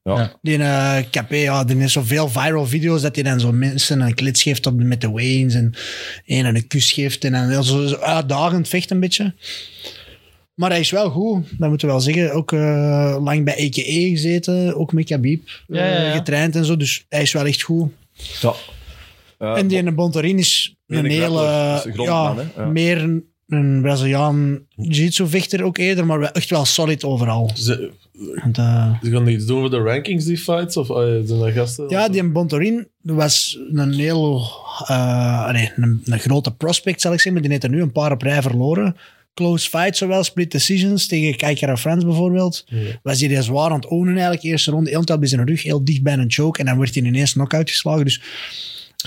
S1: Ja.
S4: Ja.
S3: Die eh KP, ja, die heeft zoveel viral video's dat hij dan zo mensen een klits geeft op de, met de Waynes en een en een kus geeft en dan zo, zo uitdagend vecht een beetje. Maar hij is wel goed, dat moeten we wel zeggen. Ook eh, lang bij EKE gezeten, ook met Khabib
S4: Ja, ja,
S3: eh,
S4: ja.
S3: getraind en zo. Dus hij is wel echt goed.
S1: Ja. Eh,
S3: en die ene Bontorin is
S1: meer
S3: een
S1: een
S3: hele...
S1: grappler, dus een
S3: ja,
S1: grondman, hè? Ja.
S3: meer een, een Braziliaan jiu-jitsu-vechter ook eerder, maar wel echt wel solid overal.
S2: Ze,
S3: Want, eh,
S2: ze gaan iets doen met de rankings, die fights? Of eh, zijn dat gasten?
S3: Ja, die Bontorin was een heel... eh, nee, een, een grote prospect, zal ik zeggen. Maar die heeft er nu een paar op rij verloren. Close fights zowel, split decisions tegen Kaikara Frans bijvoorbeeld. Was hij daar zwaar aan het ownen eigenlijk. Eerste ronde, heel tijd bij zijn rug, heel dicht bij een choke. En dan werd hij ineens knock-out geslagen. Dus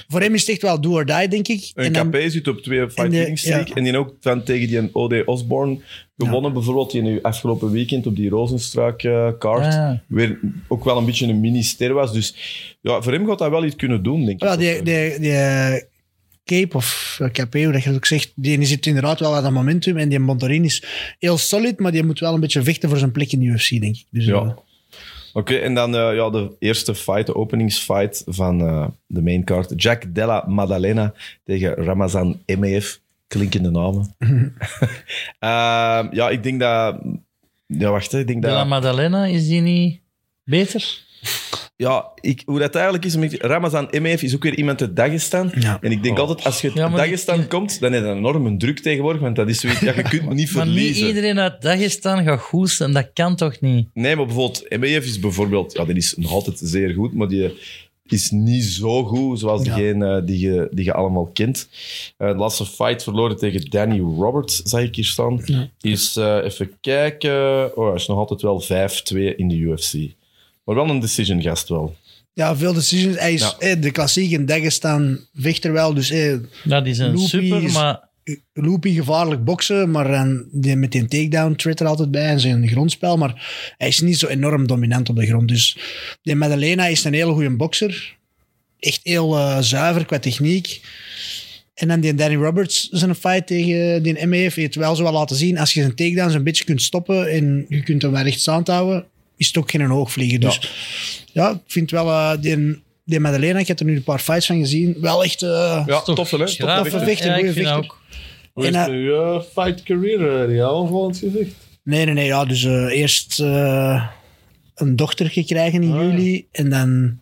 S3: voor hem is het echt wel do or die, denk ik.
S1: Een
S3: en dan-
S1: KP zit op twee
S3: en
S1: fight
S3: de-
S1: winning streak.
S3: ja.
S1: En die ook dan tegen die O.D. Osborne gewonnen. Bijvoorbeeld die nu eh, afgelopen weekend op die Rozenstruik eh kaart.
S3: Ah.
S4: Ja.
S1: Weer ook wel een beetje een mini-ster was. Dus ja, voor hem gaat dat wel iets kunnen doen, denk ik.
S3: Ja, die, die, die eh, Cape of eh, KP, hoe dat je het ook zegt, die zit inderdaad wel aan dat momentum. En die Bontorin is heel solid, maar die moet wel een beetje vechten voor zijn plek in de UFC, denk ik. Dus,
S1: Ja.
S3: eh,
S1: Oké, en dan eh, ja, de eerste fight, de openingsfight van eh, de maincard. Jack Della Maddalena tegen Ramazan MEF. Klinkende namen. Ehm, ja, ik denk dat... Ja, wacht, hè, ik denk
S4: De La
S1: dat...
S4: Maddalena, is die niet beter?
S1: Ja, ik, hoe dat eigenlijk is, met Ramazan MEF is ook weer iemand uit Dagestan.
S3: Ja.
S1: En ik denk altijd, als je uit
S4: Ja, maar die-
S1: Dagestan komt, dan heb je een enorme druk tegenwoordig, want dat is zoiets, ja, je kunt me niet
S4: Maar niet
S1: verliezen.
S4: iedereen uit Dagestan gaat goed en dat kan toch niet?
S1: Nee, maar bijvoorbeeld, MEF is bijvoorbeeld, ja, die is nog altijd zeer goed, maar die is niet zo goed zoals
S3: Ja.
S1: diegene eh, die je, die je allemaal kent. Eh, de laatste fight verloren tegen Danny Roberts, zag ik hier staan. Is, eh, even kijken, oh, hij is nog altijd wel 5-2 in de UFC. Maar wel een decision gast wel.
S3: Ja, veel decisions. Hij is
S1: Ja.
S3: eh, de klassieke in Dagestan vechter wel. Dus eh,
S4: Dat is een
S3: Loopy
S4: super,
S3: is-
S4: maar...
S3: loopy, gevaarlijk boksen. Maar dan die, met die takedown treedt er altijd bij. En zijn grondspel. Maar hij is niet zo enorm dominant op de grond. Dus die Madalena is een hele goede bokser. Echt heel eh, zuiver qua techniek. En dan die Danny Roberts zijn fight tegen die MEF. Heeft wel zo wel laten zien. Als je zijn takedowns een beetje kunt stoppen. En je kunt hem wel recht staand houden. Is het ook geen hoogvlieger. Dus ja, ik vind wel eh, die, die Madalena, ik heb er nu een paar fights van gezien, wel echt... eh,
S1: Ja,
S4: toch
S1: toffe, Ah, hè?
S4: graaf,
S1: Toffe vechter.
S4: hè?
S3: vechter,
S4: Ja, ik
S3: goeie
S4: vind dat
S3: vechter.
S4: ook.
S2: Hoe is
S3: En, eh,
S2: nu je fight career, uh, Riaan, volgens gezicht?
S3: Nee, nee, nee. Ja, dus eh, eerst eh, een dochter gekregen
S2: Ah,
S3: in juli en dan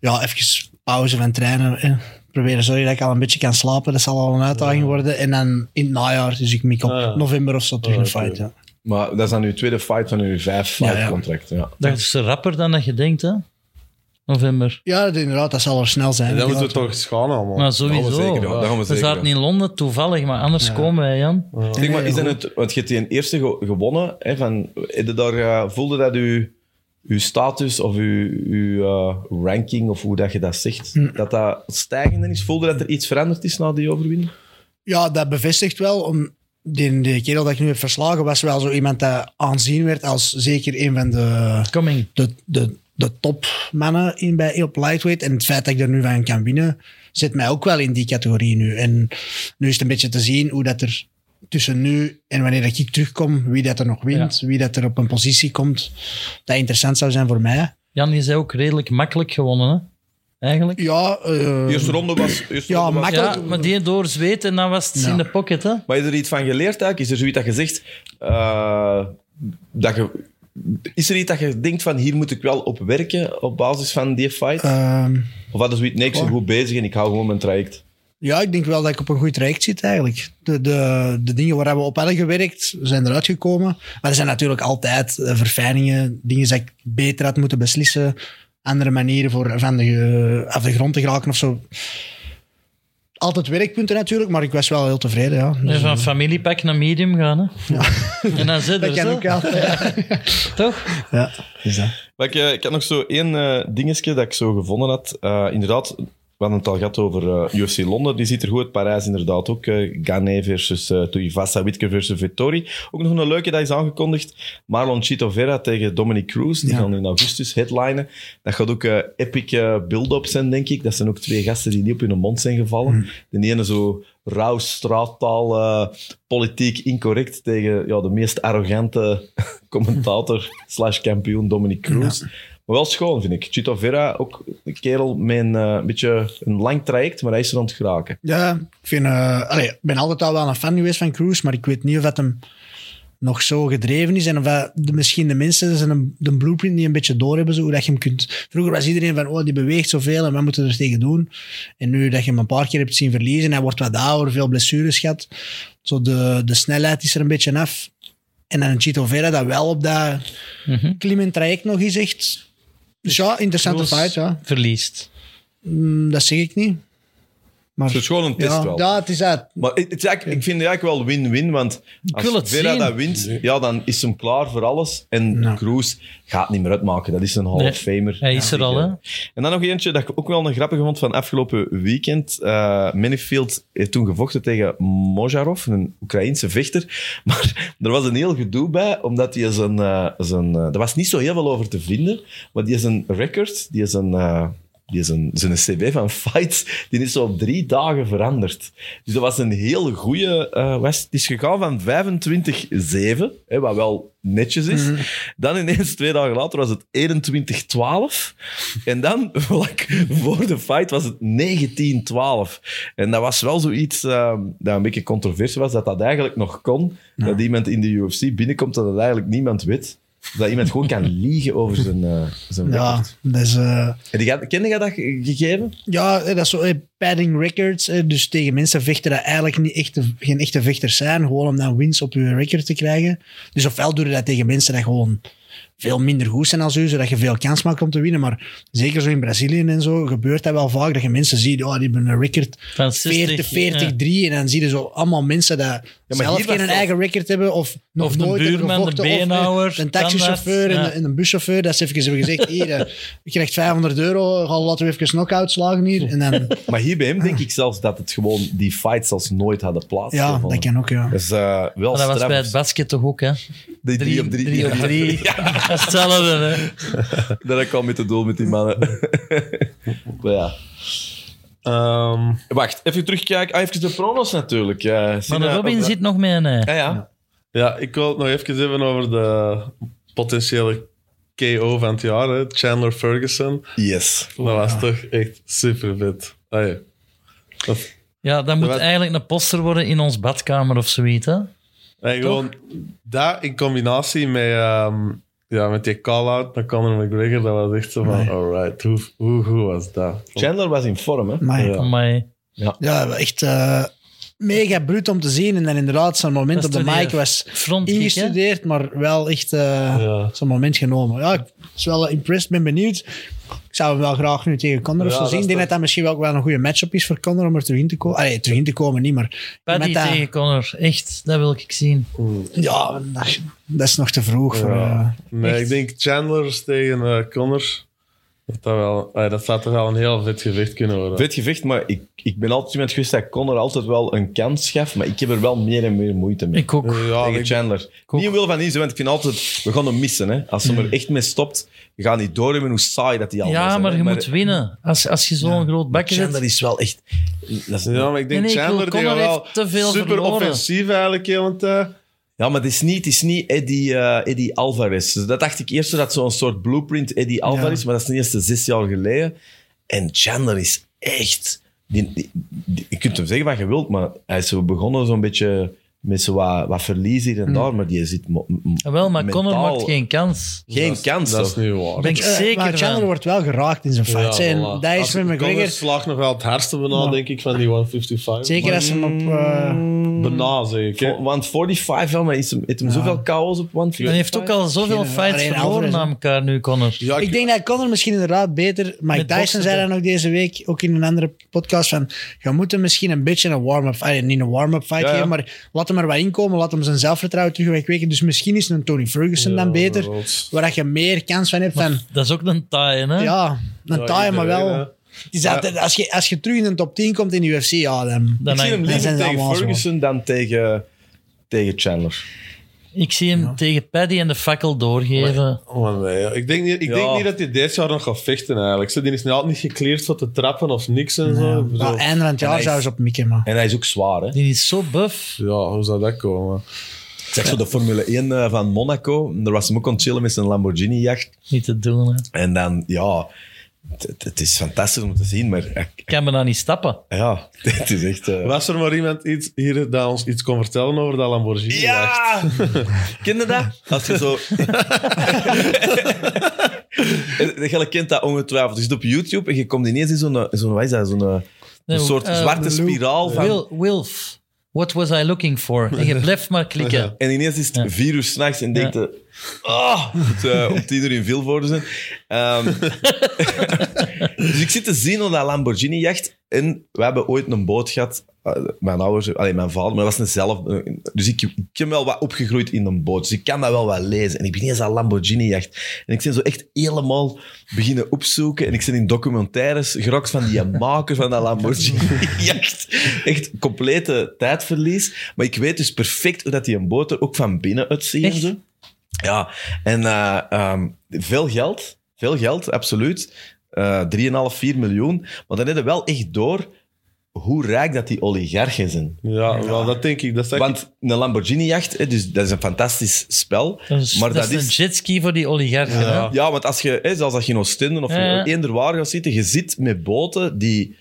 S3: ja, even pauze van trainen. eh. Proberen sorry dat ik al een beetje kan slapen. Dat zal al een uitdaging worden. En dan in het najaar, dus ik mik op
S2: Ah.
S3: november of zo terug
S2: Ah,
S3: een
S2: oké.
S3: fight. Ja.
S1: Maar dat is dan uw tweede fight van uw vijf
S3: Ja,
S1: fight
S3: ja.
S1: contract. Ja.
S4: Dat is rapper dan dat je denkt, hè? November.
S3: ja, dat- inderdaad, dat zal er snel zijn.
S2: En dan
S3: Ja,
S2: moeten we toch eens gaan allemaal.
S4: Maar sowieso.
S1: gaan we zeker doen, dat gaan we
S4: we
S1: zeker
S4: zaten
S1: doen.
S4: in Londen toevallig, maar anders komen wij, Jan.
S1: Zeg maar,
S3: Nee,
S1: is dat
S3: goed.
S1: het, want je hebt die eerste ge- gewonnen. Hè, van, heb je daar, eh, voelde dat uw, uw status of uw, uw eh, ranking, of hoe dat je dat zegt,
S3: Hm.
S1: dat dat stijgende is? Voelde dat er iets veranderd is na die overwinning?
S3: Ja, dat bevestigt wel. Om, die, die kerel dat ik nu heb verslagen was wel zo iemand dat aanzien werd als zeker een van de
S4: Coming.
S3: de, de, de topmannen in, bij, op lightweight. En het feit dat ik er nu van kan winnen, zit mij ook wel in die categorie nu. En nu is het een beetje te zien hoe dat er tussen nu en wanneer dat ik terugkom, wie dat er nog wint, wie dat er op een positie komt, dat interessant zou zijn voor mij.
S4: Jan is ook redelijk makkelijk gewonnen, hè? Eigenlijk.
S3: Ja, eh,
S1: De eerste ronde was... eerste
S3: ja
S1: ronde was-
S3: makkelijk.
S4: Ja, maar die door zweet en dan was het
S3: Ja.
S4: in de pocket, hè?
S1: Maar heb je er iets van geleerd eigenlijk? Is er zoiets dat je zegt, eh, dat je Is er iets dat je denkt van hier moet ik wel op werken op basis van die fight?
S3: Ehm,
S1: of hadden zoiets, nee, ik ben goed bezig en ik hou gewoon mijn traject.
S3: ja, ik denk wel dat ik op een goed traject zit eigenlijk. De, de, de dingen waar we op hebben gewerkt, zijn eruit gekomen. Maar er zijn natuurlijk altijd eh, verfijningen, dingen die ik beter had moeten beslissen. Andere manieren voor van de, ge- af de grond te geraken of zo. Altijd werkpunten natuurlijk, maar ik was wel heel tevreden. Ja. Dus,
S4: Dus van familiepak naar medium gaan, hè. En dan zit
S3: dat
S4: er
S3: kan
S4: zo,
S3: ook altijd.
S4: toch?
S3: Ja, dus dat.
S1: Maar ik, eh, ik had nog zo één eh, dingetje dat ik zo gevonden had. Eh, inderdaad, we hadden het al gehad over eh, UFC Londen. Die ziet er goed uit. Parijs inderdaad ook. eh Gane versus eh Tuivasa, Witke versus Vettori. Ook nog een leuke, dat is aangekondigd. Marlon Chito Vera tegen Dominic Cruz. Die
S3: Ja.
S1: gaan in augustus headlinen. Dat gaat ook eh epic eh, build-up zijn, denk ik. Dat zijn ook twee gasten die niet op hun mond zijn gevallen.
S3: Hmm.
S1: De ene zo rauw straattaal, eh, politiek incorrect tegen ja, de meest arrogante commentator slash kampioen Dominic Cruz. Maar wel schoon, vind ik. Chito Vera, ook een kerel met een eh, beetje een lang traject, maar hij is er aan het geraken.
S3: Ja, ik vind, eh, allee, ik ben altijd al wel een fan geweest van Cruz, maar ik weet niet of dat hem nog zo gedreven is en of dat de, misschien de mensen zijn de blueprint niet een beetje doorhebben, zo, hoe dat je hem kunt... Vroeger was iedereen van, oh, die beweegt zoveel en wat moeten we er tegen doen? En nu dat je hem een paar keer hebt zien verliezen, hij wordt wat ouder, veel blessures gehad, zo de, de snelheid is er een beetje af. En dan een Chito Vera dat wel op dat klimmend traject nog is, echt... Dus ja, interessante
S4: Kroos
S3: fight, ja.
S4: Verliest.
S3: Mm, dat zeg ik niet. Maar,
S1: Het is gewoon een test
S3: ja,
S1: wel.
S3: ja, het is dat.
S1: Maar het, het is eigenlijk- ik vind het eigenlijk wel win-win, want als
S4: wil het
S1: Vera
S4: zien.
S1: dat wint, ja, dan is hem klaar voor alles. En Cruz gaat niet meer uitmaken. Dat is een Hall
S4: Nee,
S1: of Famer.
S4: hij is er al, hè.
S1: En dan nog eentje dat ik ook wel een grappige vond van afgelopen weekend. Eh Manifield heeft toen gevochten tegen Mojarov, een Oekraïense vechter. Maar er was een heel gedoe bij, omdat hij zijn... eh, zijn eh, er was niet zo heel veel over te vinden, maar die is een record, die is een... eh, die is een, zijn cb van fights, die is zo op drie dagen veranderd. Dus dat was een heel goede was Het is gegaan van 25-7, hè, wat wel netjes is. Dan ineens, twee dagen later, was het 21-12. En dan, vlak voor de fight, was het 19-12. En dat was wel zoiets ehm, dat een beetje controversie was, dat dat eigenlijk nog kon. Dat iemand in de UFC binnenkomt, dat dat eigenlijk niemand weet. Dat iemand gewoon kan liegen over zijn, eh, zijn
S3: Ja,
S1: record.
S3: dat is, eh,
S1: En die gaat- Ken je dat ge- gegeven?
S3: ja, eh, dat is zo eh, padding records. eh, Dus tegen mensen vechten dat eigenlijk niet echte, geen echte vechters zijn. Gewoon om dan wins op je record te krijgen. Dus ofwel doe je dat tegen mensen dat gewoon veel minder goed zijn als u, zodat je veel kans maakt om te winnen. Maar zeker zo in Brazilië en zo gebeurt dat wel vaak, dat je mensen ziet, oh, die hebben een record
S4: Van 60,
S3: 40, 40, 3. En dan zie je zo allemaal mensen dat zelf
S1: hier
S3: geen
S1: was dat-
S3: eigen record hebben of nog
S4: Of de
S3: nooit hebben
S4: buurman, de
S3: gevochten. of, eh,
S4: beenhouwer,
S3: een taxichauffeur en,
S4: tandarts, ja.
S3: een- en een buschauffeur, dat ze even hebben gezegd, hier, eh, je krijgt 500 euro, ga laten we even knock-out slagen hier. En dan,
S1: Maar hier bij hem denk ik zelfs dat het gewoon die fights als nooit hadden
S3: ja,
S1: plaatsgevonden.
S3: dat kan ook, ja.
S1: Dat is eh, wel
S4: Maar Ah, dat was
S1: straf.
S4: bij het basket toch ook, hè?
S1: Die drie op drie.
S4: drie, op drie. Dat is hetzelfde, hè?
S1: Dat kwam met de doel met die mannen. maar ja.
S2: Ehm,
S1: Wacht, even terugkijken. Ah, even de pronos natuurlijk. eh
S4: Maar de
S1: Sina-
S4: Robin
S1: of-
S4: zit nog met een... eh,
S1: Ja, ja.
S2: ja, ik wil het nog even hebben over de potentiële KO van het jaar, hè. Chandler Ferguson.
S1: Yes.
S2: Dat was toch echt super vet.
S4: Ja, dat moet
S2: was-
S4: eigenlijk een poster worden in ons badkamer of zoiets, hè?
S2: En gewoon daar in combinatie met, ehm, ja, met die call-out naar Conor McGregor, dat was echt zo van, alright, hoe, hoe goed was dat?
S1: Chandler was in vorm, hè?
S3: Maar
S2: Ja.
S4: Amai.
S3: ja, echt eh, mega bruut om te zien. En dan inderdaad, zo'n moment
S4: Dat
S3: op
S4: is
S3: de
S4: toen
S3: mic
S4: die
S3: was
S4: frontkick, hè?
S3: ingestudeerd, maar wel echt eh,
S2: Ja.
S3: zo'n moment genomen. Ja, ik was wel impressed, ben benieuwd. Ik zou hem wel graag nu tegen Conor of
S2: Ja,
S3: zo
S2: dat
S3: zien. Ik
S2: is toch-
S3: denk dat dat misschien wel, wel een goede matchup is voor Conor om er terug in te komen. Allee, terug in te komen niet, maar...
S4: Paddy
S3: iemand dat-
S4: tegen Connor. Echt, dat wil ik zien.
S3: Ja, dat, dat is nog te vroeg. Voor, eh,
S2: Nee,
S4: Echt?
S2: ik denk Chandler tegen eh, Connor. Dat, dat, wel, eh, dat zou toch wel een heel vet gevecht kunnen worden.
S1: Vet gevecht, maar ik, ik ben altijd iemand geweest dat Connor altijd wel een kans gaf, maar ik heb er wel meer en meer moeite mee.
S4: Ik ook.
S2: Ja,
S1: tegen
S2: Ah, ik-
S1: Chandler.
S4: ook. Hmm.
S1: Niet wil van iets, want ik vind altijd, we gaan hem missen. Hè. Als ze er echt mee stopt, je gaat niet doorhebben hoe saai dat hij al was.
S4: Ja,
S1: hè.
S4: maar je moet winnen. Als, als je zo'n groot bakje
S1: Chandler
S4: zet...
S1: is wel echt... dat is-
S2: Ja, maar ik denk
S4: Nee, nee, ik
S2: Chandler
S4: bedoel,
S2: die
S4: Conor
S2: wel
S4: heeft te veel
S2: super
S4: verloren.
S2: offensief eigenlijk eh, heel een tijd.
S1: Ja, maar het is niet, het is niet Eddie, eh, Eddie Alvarez. Dus dat dacht ik eerst dat het zo'n soort blueprint Eddie Alvarez, maar dat is ten eerste zes jaar geleden. En Chandler is echt. Die, die- die- je kunt hem zeggen wat je wilt, maar hij is zo begonnen zo'n beetje met zo wat, wat verlies hier en
S4: Hmm.
S1: daar, maar die zit mo- m-
S4: Ah, Wel, maar Connor
S1: mentaal
S4: maakt geen kans.
S1: geen
S2: Dat is-
S1: kans.
S2: Dat is
S1: toch?
S2: niet waar.
S4: Ben ik
S3: Eh, maar
S4: zeker
S3: Chandler
S4: van.
S3: wordt wel geraakt in zijn fights. hè. en
S2: voilà.
S3: dat is
S2: Als-
S3: met
S2: Conor
S3: McGregor.
S2: slaagt nog wel het hardste bijna, denk ik, van die 155.
S3: Zeker als ze hem op... eh,
S2: Maar Bijna, zeg ik. hè.
S1: Vo- 145, wel, maar is hem, heeft hem zoveel chaos op 145?
S4: Hij heeft ook al zoveel
S3: Geen-
S4: fights
S3: alleen
S4: verloren
S3: Alvarez,
S4: na
S3: hè.
S4: elkaar nu, Connor.
S2: Ja,
S3: ik denk dat Conor misschien inderdaad beter... Mike
S4: Met
S3: Tyson
S4: boksen
S3: zei
S4: toch?
S3: dat ook deze week, ook in een andere podcast, van je moet hem misschien een beetje een warm-up... allee, niet een warm-up fight
S1: Ja, ja.
S3: geven, maar laat hem er wat inkomen, laat hem zijn zelfvertrouwen terug wat kweken. Dus misschien is een Tony Ferguson
S2: Ja,
S3: dan beter,
S2: bijvoorbeeld.
S3: waar dat je meer kans van hebt van...
S4: Dat is ook een taai, hè?
S3: Ja, een
S2: Ja,
S3: taai, maar wel...
S2: iedereen, hè.
S3: Het is altijd- als, je, als je terug in de top 10 komt in de UFC, ja, dan...
S4: Dan
S1: Ik zie
S4: hangt-
S1: hem
S3: Dan
S1: liever
S3: zijn ze
S1: tegen
S3: allemaal zo.
S1: Ferguson dan tegen, tegen Chandler.
S4: Ik zie hem tegen Paddy en de fakkel doorgeven.
S2: Oh, nee, ja. ik denk, niet, ik
S1: Ja.
S2: denk niet dat hij dit jaar nog gaat vechten eigenlijk. Zo, Die is nu altijd niet gekleerd voor te trappen of niks en zo. Ik bedoel,
S3: Wel, einde van het jaar zou ze op mikken, maar...
S1: En hij is ook zwaar, hè?
S4: Die is zo buff.
S2: Ja, hoe zou dat komen?
S1: Zeg zo de Formule 1 eh, van Monaco. Daar was hem ook aan het chillen met zijn Lamborghini-jacht.
S4: Niet te doen, hè.
S1: En dan, ja... het- Het, het is fantastisch om te zien, maar eh,
S4: Ik kan me dan niet stappen.
S1: ja, het is echt... eh,
S2: Was er maar iemand iets, hier dat ons iets kon vertellen over dat Lamborghini?
S1: Ja! Ken je dat? Als je zo... Je kent dat ongetwijfeld. Je zit op YouTube en je komt ineens in zo'n... zo'n wat is dat? Zo'n eh, een
S4: Nee,
S1: soort
S4: eh,
S1: zwarte
S4: de
S1: spiraal van...
S4: Wil, Wilf, what was I looking for? En je blijft maar klikken.
S1: En ineens is het vier uur s'nachts en denkt je... Oh, het eh, om tien uur in Vilvoorde zijn. Ehm, dus ik zit te zien op dat Lamborghini-jacht. En we hebben ooit een boot gehad. eh, mijn ouders, alleen mijn vader, maar dat was een zelf. eh, Dus ik, ik ben wel wat opgegroeid in een boot. Dus ik kan dat wel wat lezen. En ik ben eens aan Lamborghini-jacht. En ik ben zo echt helemaal beginnen opzoeken. En ik ben in documentaires gerakt van die maker van dat Lamborghini-jacht. Echt complete tijdverlies. Maar ik weet dus perfect hoe dat die een boot er ook van binnen uitziet. en
S4: Echt?
S1: zo. Ja, en eh, ehm, veel geld. Veel geld, absoluut. Eh 3,5, 4 miljoen. Maar dan hebben we wel echt door hoe rijk dat die oligarchen zijn.
S2: Ja, wel, dat denk ik. Dat zeg ik.
S1: Want een Lamborghini-jacht, hè, dus dat is een fantastisch spel.
S4: Dat is,
S1: maar
S4: dat is een jetski voor die oligarchen.
S2: Ja.
S4: hè.
S1: ja, want als je, hè, zelfs als je in Oostende of
S4: Ja, ja.
S1: eender waar gaat zitten, je zit met boten die...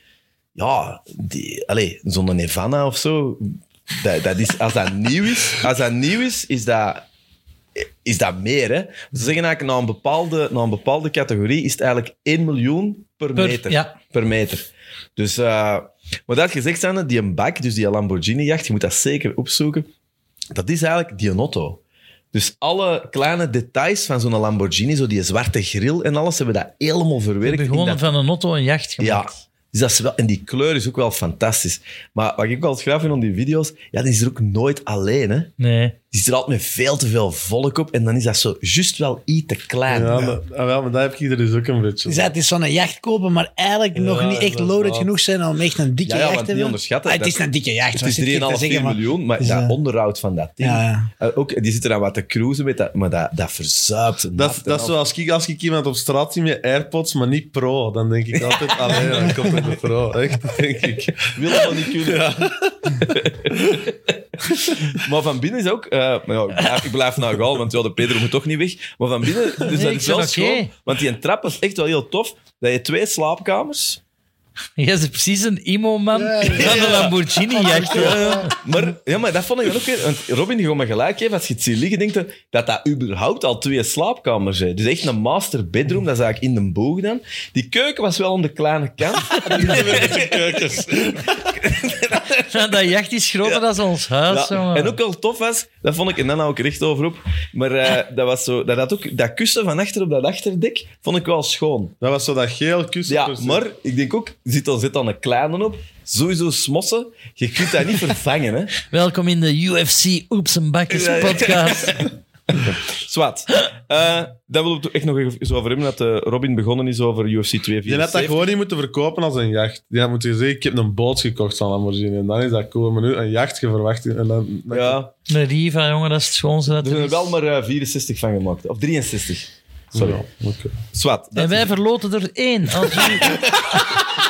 S1: Ja, die, allez, zo'n Nirvana of zo. Dat, dat is, als, dat nieuw is, als dat nieuw is, is dat, is dat meer. Hè? Ze zeggen eigenlijk, na een, bepaalde, na een bepaalde categorie is het eigenlijk 1 miljoen per,
S4: Per-
S1: meter.
S4: ja.
S1: Per meter. Dus, eh, maar dat gezegd zijnde, die een bak, dus die Lamborghini-jacht, je moet dat zeker opzoeken. Dat is eigenlijk die auto. Dus alle kleine details van zo'n Lamborghini, zo die zwarte grill en alles, hebben dat helemaal
S4: We
S1: verwerkt.
S4: hebben gewoon
S1: in dat-
S4: van een auto een jacht
S1: ja.
S4: gemaakt.
S1: Dus dat is wel, en die kleur is ook wel fantastisch. Maar wat ik ook al graag vind aan die video's, ja, die is er ook nooit alleen. Hè.
S4: Nee.
S1: Die zit er altijd met veel te veel volk op en dan is dat zo juist wel iets te klein.
S2: Ja, maar, ah, wel, maar dat heb ik er dus ook een beetje.
S3: Je zei, het is zo'n jacht kopen, maar eigenlijk nog niet echt
S2: inderdaad.
S3: loaded genoeg zijn om echt een dikke
S1: Ja, ja, want
S3: jacht te
S1: niet
S3: hebben.
S1: onderschatten,
S3: Ah, het
S1: dat-
S3: is een dikke jacht.
S1: Het is 3,5 4 miljoen, maar
S3: Dus,
S1: dat
S3: eh,
S1: onderhoud van dat ding.
S3: Ja, ja.
S1: Eh, ook, die zitten dan wat te cruisen, met dat, maar dat, dat verzuipt.
S2: Dat, dat is zoals ik, als ik iemand op straat zie met AirPods, maar niet pro, dan denk ik altijd alleen dan komt het de pro. Echt, denk ik.
S1: wil dat wel niet kunnen. maar van binnen is ook... eh, maar ja, ik, blijf, ik blijf naar Gaal, want ja, de Pedro moet toch niet weg. Maar van binnen dus dat
S4: ik
S1: is wel
S4: ben oké.
S1: schoon. Want die trap is echt wel heel tof. Dat je twee slaapkamers...
S4: Jij is precies een imo-man van de Lamborghini-jacht.
S1: Ja, eh, maar, ja, maar dat vond ik dan ook weer... Want Robin, je gaat me gelijk geven. Als je het ziet liggen, denkt je dat dat überhaupt al twee slaapkamers zijn. Dus echt een master bedroom. Dat is eigenlijk in de boog dan. Die keuken was wel aan de kleine kant.
S4: Dat jacht is groter dan ons huis.
S1: Ja,
S4: jongen.
S1: en ook wel tof was, dat vond ik, en dan hou ik er echt over op, maar eh, dat was zo, dat, had ook, dat kussen van achter op dat achterdek, vond ik wel schoon.
S2: Dat was zo dat geel kussen.
S1: Ja, maar ik denk ook, zit dan, zit dan een kleine op, sowieso smossen, je kunt dat niet vervangen, hè.
S4: Welkom in de UFC Oeps en Bakkes
S1: Ja, ja.
S4: podcast.
S1: Zwat. Eh dat wil ik toch echt nog even zo over hebben, dat eh, Robin begonnen is over UFC
S2: Je had dat
S1: 274.
S2: gewoon niet moeten verkopen als een jacht. Je had moeten zeggen, ik heb een boot gekocht van Lamborghini. En dan is dat cool. Maar nu een jachtje verwacht. En dan, dan-
S1: Ja,
S4: Een Riva, jongen, dat is het schoonste dat
S1: er
S4: er
S1: zijn
S4: is.
S1: er wel maar eh, 64 van gemaakt. Of 63.
S2: Sorry.
S1: Sorry.
S2: oké.
S1: Zwat. dat
S4: En wij
S1: is-
S4: verloten er één.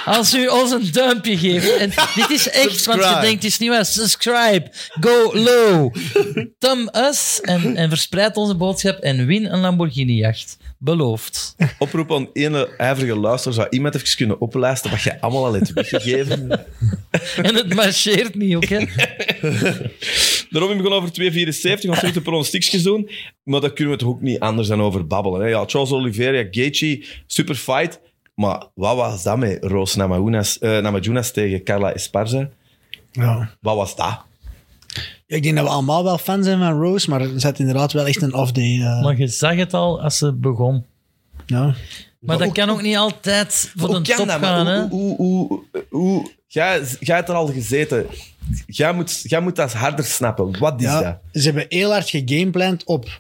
S4: Als u, als u ons een duimpje geeft. En dit is echt, want
S2: Subscribe.
S4: je denkt, het is niet waar. Subscribe, go low, thumb us en, en verspreid onze boodschap en win een Lamborghini-jacht. Beloofd.
S1: Oproep aan ene ijverige luisteraar. Zou iemand even kunnen oplijsten wat jij allemaal al hebt weggegeven?
S4: En het marcheert niet ook, hè?
S1: De Robin begon over 2,74. Ons moeten pronostiekjes doen. Maar daar kunnen we toch ook niet anders dan over babbelen. Hè? Ja, Charles Oliveira, Gaethje, super fight. Maar wat was dat met Roos Namajunas, eh, Namajunas tegen Carla Esparza?
S3: Ja.
S1: Wat was dat?
S3: Ja, Ik denk dat we allemaal wel fan zijn van Rose, maar ze had inderdaad wel echt een off day. eh,
S4: Maar je zag het al als ze begon.
S3: ja.
S4: Maar dat kan ook niet altijd voor de
S1: Hoe kan
S4: top
S1: dat,
S4: gaan.
S1: maar
S4: Hè?
S1: hoe- hoe- hoe- hoe- Jij jij hebt er al gezeten. Jij moet, jij moet dat harder snappen. Wat is dat?
S3: Ja, ze hebben heel hard gegamepland op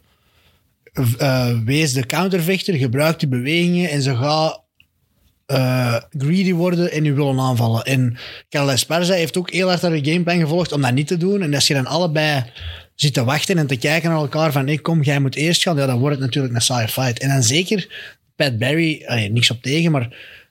S3: eh, wees de countervechter, gebruik die bewegingen en ze gaat eh, greedy worden en je willen aanvallen. En Carla Esparza heeft ook heel hard haar gameplan gevolgd om dat niet te doen. En als je dan allebei zit te wachten en te kijken naar elkaar van ik kom, jij moet eerst gaan, ja, dan wordt het natuurlijk een saaie fight. En dan zeker Pat Barry, allee, niks op tegen, maar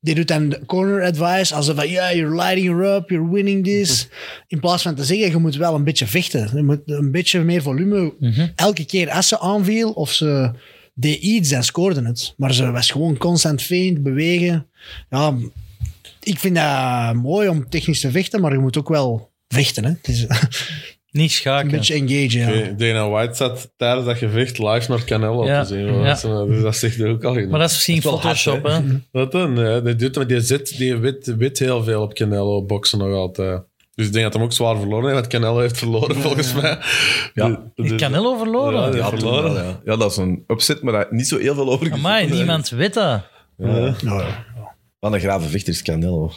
S3: die doet dan de corner advice, alsof van, ja, you're lighting her up, you're winning this. In plaats van te zeggen, je moet wel een beetje vechten. Je moet een beetje meer volume. Elke keer als ze aanviel of ze deed iets, dan scoorde het. Maar ze was gewoon constant feint, bewegen. Ja, ik vind dat mooi om technisch te vechten, maar je moet ook wel vechten. Hè? Het is een
S4: Niet schaken.
S3: beetje engage. Ja.
S2: Oké, Dana White zat tijdens dat gevecht live naar Canelo
S4: Ja,
S2: te zien. hoor.
S4: ja.
S2: Dat is, eh, Dus dat zegt er ook al in.
S4: Maar dat is misschien
S2: wel hard,
S4: Photoshop. hè?
S2: Wat dan? Ja, die, doet, maar die, zit, die wit, wit heel veel op Canelo boksen nog altijd. Dus ik denk dat hem ook zwaar verloren heeft, want Canelo heeft verloren volgens mij.
S1: Ja.
S2: De- de-
S4: Canelo
S2: Ja,
S4: verloren.
S2: ja.
S1: Ja, toen wel,
S2: verloren.
S1: ja. Ja, dat is een opzet, maar daar niet zo heel veel over
S4: Amai,
S1: gezegd.
S4: niemand weet dat.
S3: Nou, ja.
S1: Wat een grave vechter is Canelo.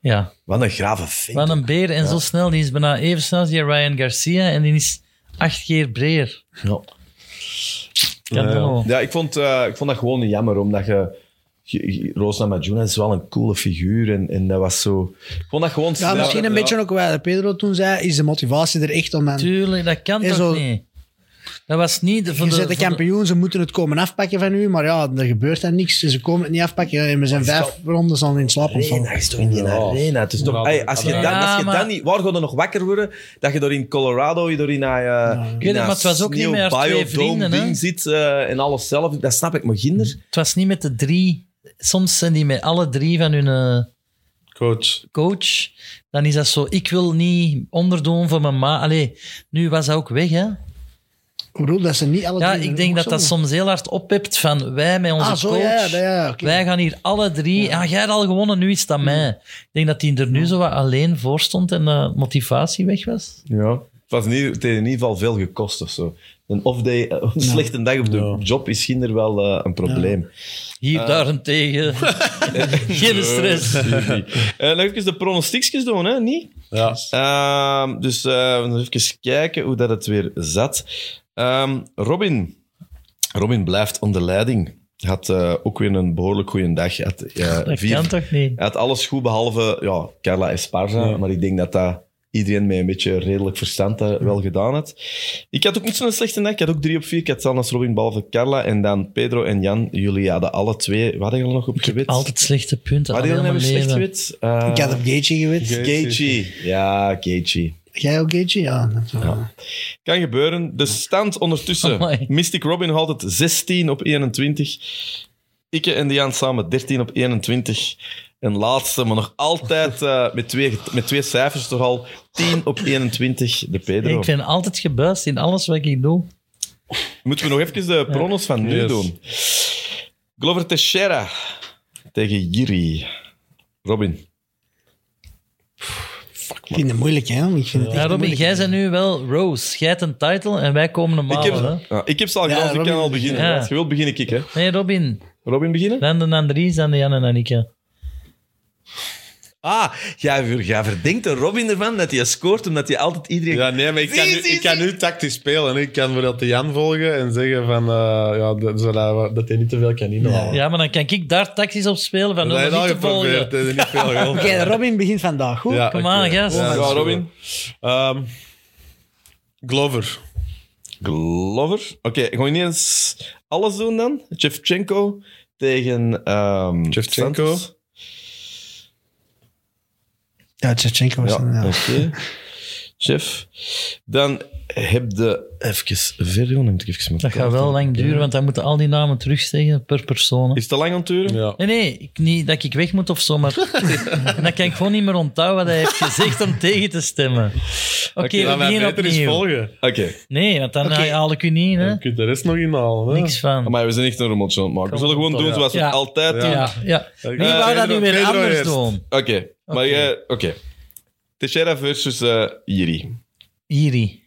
S4: Ja,
S1: Wat een grave vechter.
S4: wat een beer. En zo snel, die is bijna even snel als die Ryan Garcia. En die is acht keer breder.
S1: Ja.
S4: Canelo.
S1: Ja, ik vond, eh, ik vond dat gewoon jammer, omdat je... je- je- Roos Namajunas is wel een coole figuur en, en dat was zo... Ik vond dat gewoon...
S3: Ja, misschien een
S1: ja.
S3: beetje ook wat Pedro toen zei, is de motivatie er echt om dan...
S4: Tuurlijk, dat kan
S3: En
S4: toch
S3: zo-
S4: niet? Dat was niet... de- Voor
S3: Je
S4: de,
S3: bent de
S4: voor de-
S3: kampioen, ze moeten het komen afpakken van u, maar ja, er gebeurt dan niks. Ze komen het niet afpakken en we zijn vijf rondes al in slaap
S1: Arena,
S3: ontvallen.
S1: is toch in die
S2: Ja.
S1: arena? Het is toch,
S2: Ja,
S1: Ey, als je,
S2: ja,
S1: dan, als je
S4: maar-
S1: dan niet... Waar gaat er nog wakker worden? Dat je door in Colorado, je door in een
S4: Ik weet het, maar het was ook niet met haar twee vrienden, hè?
S1: ding zit eh, en alles zelf. Dat snap ik, maar ginder...
S4: Het was niet met de drie. Soms zijn die met alle drie van hun eh,
S2: Coach.
S4: coach. Dan is dat zo, ik wil niet onderdoen voor mijn ma. Allee, nu was dat ook weg, hè?
S3: Ik bedoel, dat ze niet alle
S4: Ja,
S3: drie-
S4: ik denk dat dat
S3: Sommige-
S4: soms heel hard oppept van wij met onze
S3: Ah, zo,
S4: coach.
S3: ja, ja, ja, oké. Hmm.
S4: Wij gaan hier alle drie. Ja. jij hebt al gewonnen, nu is dat mij. Ik denk dat hij er nu zo wat alleen voor stond en de motivatie weg was.
S1: Ja. Het was in ieder, het heeft in ieder geval veel gekost of zo. Een off-day, eh, een slechte dag op de
S2: Ja.
S1: job is ginder wel eh, een probleem.
S4: Hier daarentegen. Geen stress.
S1: Eh, nog even de pronostiekjes doen, hè? Niet?
S2: Ja.
S1: Ehm, dus eh, we gaan even kijken hoe dat het weer zat. Ehm, Robin. Robin blijft onder leiding. Had eh, ook weer een behoorlijk goede dag. Had, eh,
S4: Dat
S1: vier-
S4: kan toch niet?
S1: hij had alles goed, behalve ja, Carla Esparza. Maar ik denk dat dat iedereen met een beetje redelijk verstand dat wel gedaan had. Ik had ook niet zo'n slechte dag. Ik had ook drie op vier. Ik had Sanas Robin, behalve Carla. En dan Pedro en Jan. Jullie hadden alle twee... Wat hadden jullie nog op gewit?
S4: Altijd slechte punten.
S1: Wat
S4: al heel
S1: hadden jullie
S4: mijn
S1: slecht
S4: leven.
S1: gewit? Eh,
S3: Ik had op Gaethje gewit.
S1: Gaethje. Ja, Gaethje.
S3: Jij ook Gaethje? Ja. dat eh, is wel-
S1: Kan gebeuren. De stand ondertussen.
S4: Amai.
S1: Mystic Robin nog altijd 16 op 21. Ikke en Dian samen 13 op 21. En laatste, maar nog altijd eh, met, twee, met twee cijfers toch al 10 op 21, de Pedro.
S4: Ik ben altijd gebuist in alles wat ik doe.
S1: Moeten we nog even de pronos van nu
S2: Yes.
S1: doen. Glover Teixeira tegen Jiri. Robin.
S3: Ik vind het moeilijk, hè. Ik vind het
S4: Ja,
S3: echt
S4: Robin,
S3: moeilijk.
S4: jij bent nu wel Rose. Jij hebt een title en wij komen normaal.
S1: Ik heb,
S4: hè?
S1: ja, ik heb ze al
S3: Ja,
S1: gedaan, dus ik
S3: Robin.
S1: kan al beginnen.
S4: Ja.
S1: Als je wilt, begin ik, ik, hè.
S4: Nee, Robin.
S1: Robin, beginnen?
S4: Dan de Andries, dan de Jan en Annike.
S1: Ah, jij, jij verdenkt de Robin ervan dat hij scoort, omdat hij altijd iedereen... Oh,
S2: Ja, nee, maar ik kan, nu,
S1: Zie, zie,
S2: ik kan nu tactisch spelen. Ik kan bijvoorbeeld de Jan volgen en zeggen van, eh, ja, dat, zodat- dat hij niet te veel kan inhalen.
S4: Ja, maar dan kan ik daar tactisch op spelen van
S2: Dat heb
S4: dat
S2: je al
S4: niet te
S2: geprobeerd.
S4: volgen.
S2: Dat is niet veel geholpen.
S3: Oké, Robin begint vandaag. Goed.
S2: Ja,
S4: Kom aan,
S2: oké.
S4: gast.
S2: Ja,
S1: Ja,
S2: dat is
S1: Robin.
S2: goed. Ehm, Glover.
S1: Glover. Oké, gewoon niet eens alles doen dan. Chevchenko tegen... ehm
S2: Shevchenko.
S1: Santos.
S3: Ja, Tjatchenko was
S1: Ja,
S3: dan, ja.
S1: oké. Chef. Dan heb de... Even verder, want dan moet ik even mijn
S4: Dat gaat
S1: kaart
S4: wel
S1: op-
S4: lang duren, want dan moeten al die namen terugzeggen per persoon. hè.
S1: Is het te lang aan het duren?
S2: Ja.
S4: Nee, nee, ik, niet dat ik weg moet of zo, maar dan kan ik gewoon niet meer onthouden wat hij heeft gezegd om tegen te stemmen. Oké, we
S2: laat mij
S4: beginnen
S2: beter eens
S4: opnieuw.
S2: volgen.
S1: Oké.
S4: Nee, want dan haal ik u niet, hè.
S2: Je kunt de rest nog inhalen. hè.
S4: Niks van.
S1: Maar we zijn echt een rommeltje aan het maken. We zullen gewoon doen zoals we
S4: Ja.
S1: het altijd doen.
S4: Ja, ja. Wie wou dat nu
S2: Pedro-
S4: weer
S2: Pedro
S4: anders
S2: eerst.
S4: doen?
S1: Oké, maar jij... Oké. Teixeira versus eh Jiri.
S4: Iri.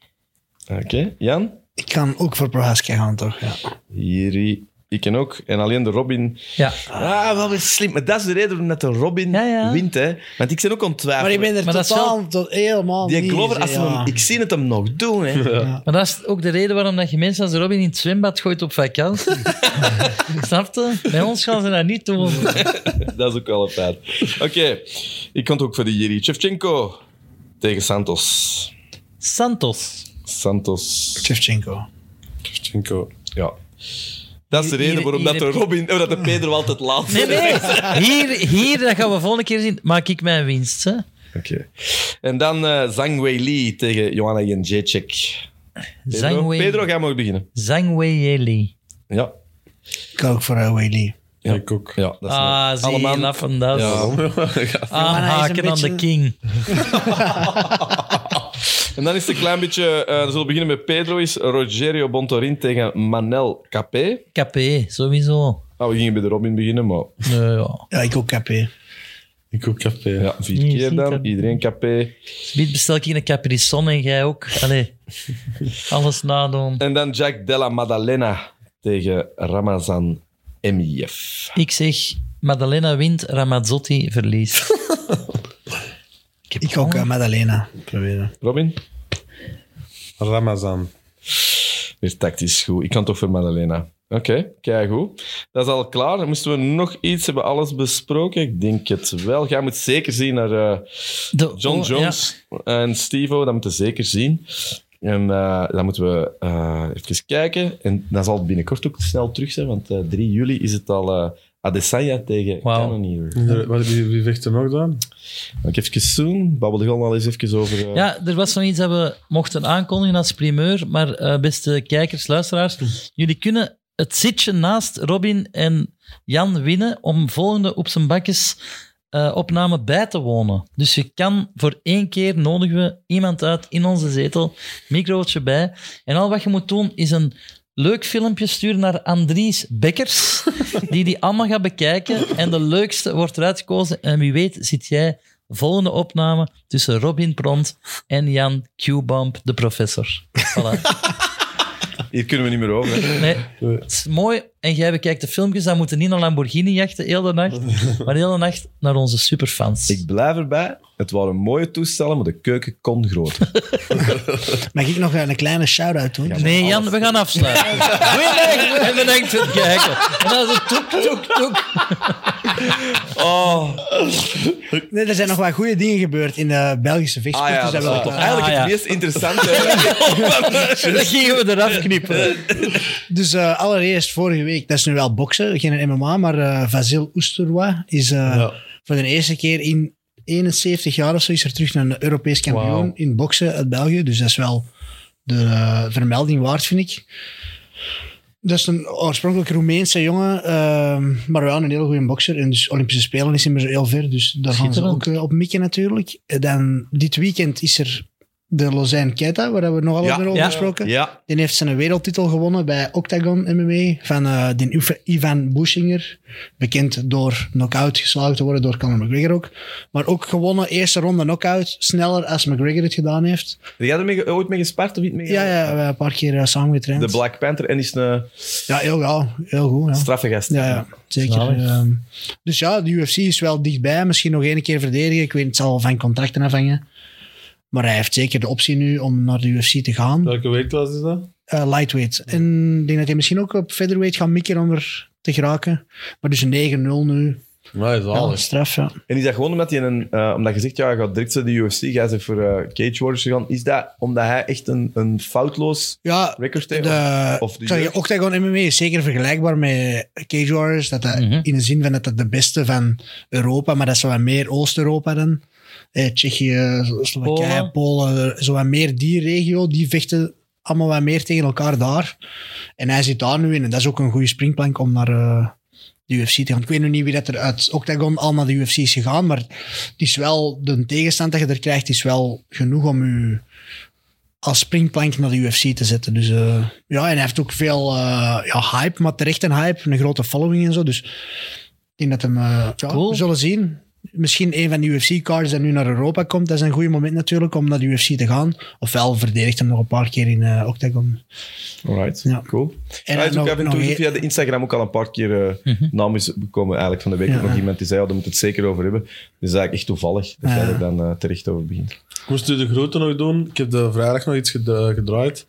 S1: Oké, Jan?
S3: Ik kan ook voor Prohaska gaan, toch? Ja.
S1: Jiri. Ik en ook. En alleen de Robin...
S4: Ja.
S1: Ah, wel weer slim. Maar dat is de reden waarom dat de Robin
S4: Ja, ja.
S1: wint, hè. Want ik ben ook ontwijfeld.
S3: Maar ik ben er
S4: Maar dat is
S3: totaal tot helemaal
S1: Die
S3: niet
S1: Glover,
S3: in,
S1: als ze
S3: ja.
S1: hem, ik zie het hem nog doen, hè.
S4: Maar dat is ook de reden waarom dat je mensen als Robin in het zwembad gooit op vakantie. Snap je? Bij ons gaan ze dat niet doen.
S1: Dat is ook wel een feit. Oké, ik kan het ook voor de Jiri. Shevchenko tegen Santos.
S4: Santos.
S1: Santos.
S3: Shevchenko.
S2: Shevchenko.
S1: Ja. Dat is de
S4: Hier-
S1: reden waarom
S4: hier-
S1: dat de, Robin, oh, dat de Pedro altijd laat
S4: Nee,
S1: zit.
S4: nee. Hier, hier, dat gaan we volgende keer zien. Maak ik mijn winst, hè.
S1: Oké. En dan eh Zhang Wei Li tegen Johanna Jędrzejczyk. Pedro,
S4: Zhang Wei-
S1: Pedro, jij mag beginnen.
S4: Zhang Weili.
S1: Ja.
S3: Ik ga ook voor uh, Wiley.
S1: ja.
S2: Ik ook.
S1: Ja, dat is
S4: Ah, zie je, laffen dat.
S1: Ja.
S4: Aanhaken
S3: Ja, maar hij is
S4: Ah,
S3: een
S4: aan de
S3: beetje-
S4: king.
S1: En dan is het een klein beetje... eh, dan zullen we beginnen met Pedro. Is Rogerio Bontorin tegen Manel Capé.
S4: KP, sowieso.
S1: Ah, we gingen bij de Robin beginnen, maar...
S4: Nee, ja.
S3: Ja, ik ook KP.
S2: Ik ook café.
S1: Ja, vier
S4: Je
S1: keer
S4: ziet
S1: dan.
S4: dat.
S1: Iedereen Capé.
S4: Wie bestel ik een Capri-Son en jij ook? Allee, alles nadoen.
S1: En dan Jack Della Maddalena tegen Ramazan Emiev.
S4: Ik zeg, Madalena wint, Ramazzotti verliest. ik heb
S3: Ik ook eh, Madalena proberen.
S1: Robin?
S2: Ramazan.
S1: Weer tactisch goed. Ik kan toch voor Maddalena. Oké, kijk goed. Dat is al klaar. Dan moesten we nog iets hebben, alles besproken. Ik denk het wel. Jij moet zeker zien naar eh,
S4: De-
S1: John
S4: oh,
S1: Jones en Steve-O. Dat moeten we zeker zien. En eh, dan moeten we eh, even kijken. En dat zal binnenkort ook snel terug zijn, want eh, 3 juli is het al eh Adesanya tegen
S4: Wauw.
S1: Cannonier.
S2: Wat- Wie, wie vecht er nog dan?
S1: Mag ik even zoen? Babbel gewoon al eens even over... eh,
S4: Ja, er was nog iets dat we mochten aankondigen als primeur. Maar eh, beste kijkers, luisteraars, jullie kunnen het zitje naast Robin en Jan winnen om volgende op zijn bakjes eh, opname bij te wonen. Dus je kan voor één keer nodigen we iemand uit in onze zetel, microotje bij. En al wat je moet doen is een leuk filmpje sturen naar Andries Bekkers, die die allemaal gaat bekijken. En de leukste wordt eruit gekozen. En wie weet zit jij volgende opname tussen Robin Pront en Jan Q-Bump, de professor. Voilà.
S1: Hier kunnen we niet meer over. hè.
S4: Nee, het is mooi. En jij bekijkt de filmpjes, dan moeten niet naar Lamborghini jachten, heel de nacht, maar heel de nacht naar onze superfans.
S1: Ik blijf erbij. Het waren mooie toestellen, maar de keuken kon
S4: Ah,
S1: groter.
S3: Mag ik nog een kleine shout-out doen?
S4: Nee, Jan, we gaan afsluiten. Goeiedag en bedankt voor het kijken. En dan is het toek, toek, toek.
S1: Oh,
S3: Nee, er zijn nog wel goede dingen gebeurd in de Belgische
S1: ah
S3: vechtsport.
S1: ja, dat
S3: dus
S1: is wel
S3: dat wel-
S1: tof. Eigenlijk
S4: Ah, ja.
S1: het meest interessante.
S4: Dat gingen we eraf knippen.
S3: Dus eh, allereerst vorige week, dat is nu wel boksen, geen MMA, maar eh Vasil Oesterwa is eh,
S4: Ah.
S3: voor de eerste keer in 71 jaar of zo is er terug naar een Europees kampioen
S2: Wauw.
S3: in boksen uit België. Dus dat is wel de eh, vermelding waard, vind ik. Dat is een oorspronkelijk Roemeense jongen, ehm, maar wel een heel goede bokser. En dus Olympische Spelen is immers heel ver, dus daar gaan ze
S4: Schitterend.
S3: ook eh, op mikken natuurlijk. En dan dit weekend is er de Lozijn Keita, waar we nogal
S1: Ja,
S3: over hebben
S4: ja.
S3: gesproken.
S1: ja.
S3: Die heeft zijn wereldtitel gewonnen bij Octagon MMA van eh die Uf- Ivan Bushinger. Bekend door knock-out geslagen te worden door Conor McGregor ook. Maar ook gewonnen, eerste ronde knock-out, sneller als McGregor het gedaan heeft.
S1: Heb jij er mee, ooit mee gespart of niet mee?
S3: Ja, ja, we hebben een paar keer eh, samen getraind.
S1: De Black Panther en is een
S3: ja, heel, ja, heel goed. Ja.
S1: straffe gast.
S3: Ja, ja, zeker.
S4: Zalig.
S3: Ehm, dus ja, de UFC is wel dichtbij. Misschien nog één keer verdedigen. Ik weet het zal van contracten afhangen. Maar hij heeft zeker de optie nu om naar de UFC te gaan.
S2: Welke weekklas is dat?
S3: eh, lightweight. En ik denk dat hij misschien ook op featherweight gaat mikken om er te geraken. Maar dus een 9-0 nu.
S2: Nee, is
S3: Ja,
S2: alles.
S3: straf, ja.
S1: En is dat gewoon omdat, je een, eh, omdat je zegt, ja, je gaat direct naar de UFC, jij bent voor eh, Cage Warriors gegaan. Is dat omdat hij echt een, een foutloos
S3: Ja,
S1: record heeft?
S3: de,
S1: of de
S3: sorry,
S1: jeugd?
S3: Octagon MMA is zeker vergelijkbaar met Cage Warriors. Dat dat,
S4: Mhm.
S3: In de zin van dat dat de beste van Europa, maar dat is wel wat meer Oost-Europa dan. eh, Tsjechië, Slowakije,
S4: Polen.
S3: Polen, eh, zo wat meer die regio, die vechten allemaal wat meer tegen elkaar daar. En hij zit daar nu in en dat is ook een goede springplank om naar eh, de UFC te gaan. Ik weet nu niet wie dat er uit Octagon al naar de UFC is gegaan, maar het is wel, de tegenstand dat je er krijgt, is wel genoeg om je als springplank naar de UFC te zetten. Dus, eh, ja, en hij heeft ook veel eh, ja, hype, maar terecht een hype, een grote following en zo. Dus ik denk dat hem, eh, ja,
S4: Cool.
S3: we zullen zien. Misschien een van de UFC-cards dat nu naar Europa komt. Dat is een goed moment natuurlijk om naar de UFC te gaan. Ofwel verdedigt hem nog een paar keer in eh, Octagon.
S1: Alright,
S3: Ja.
S1: cool.
S3: En
S1: En hij is
S3: dan
S1: ook
S3: nog-
S1: af en
S3: nog
S1: toe
S3: e-
S1: via de Instagram ook al een paar keer eh namens gekomen eigenlijk van de week.
S3: Ja.
S1: Ook Nog iemand die zei, oh, daar moet het zeker over hebben. Dus eigenlijk echt toevallig dat jij er dan eh, terecht over begint.
S2: Ik moest nu de grote nog doen. Ik heb de vrijdag nog iets geda- gedraaid.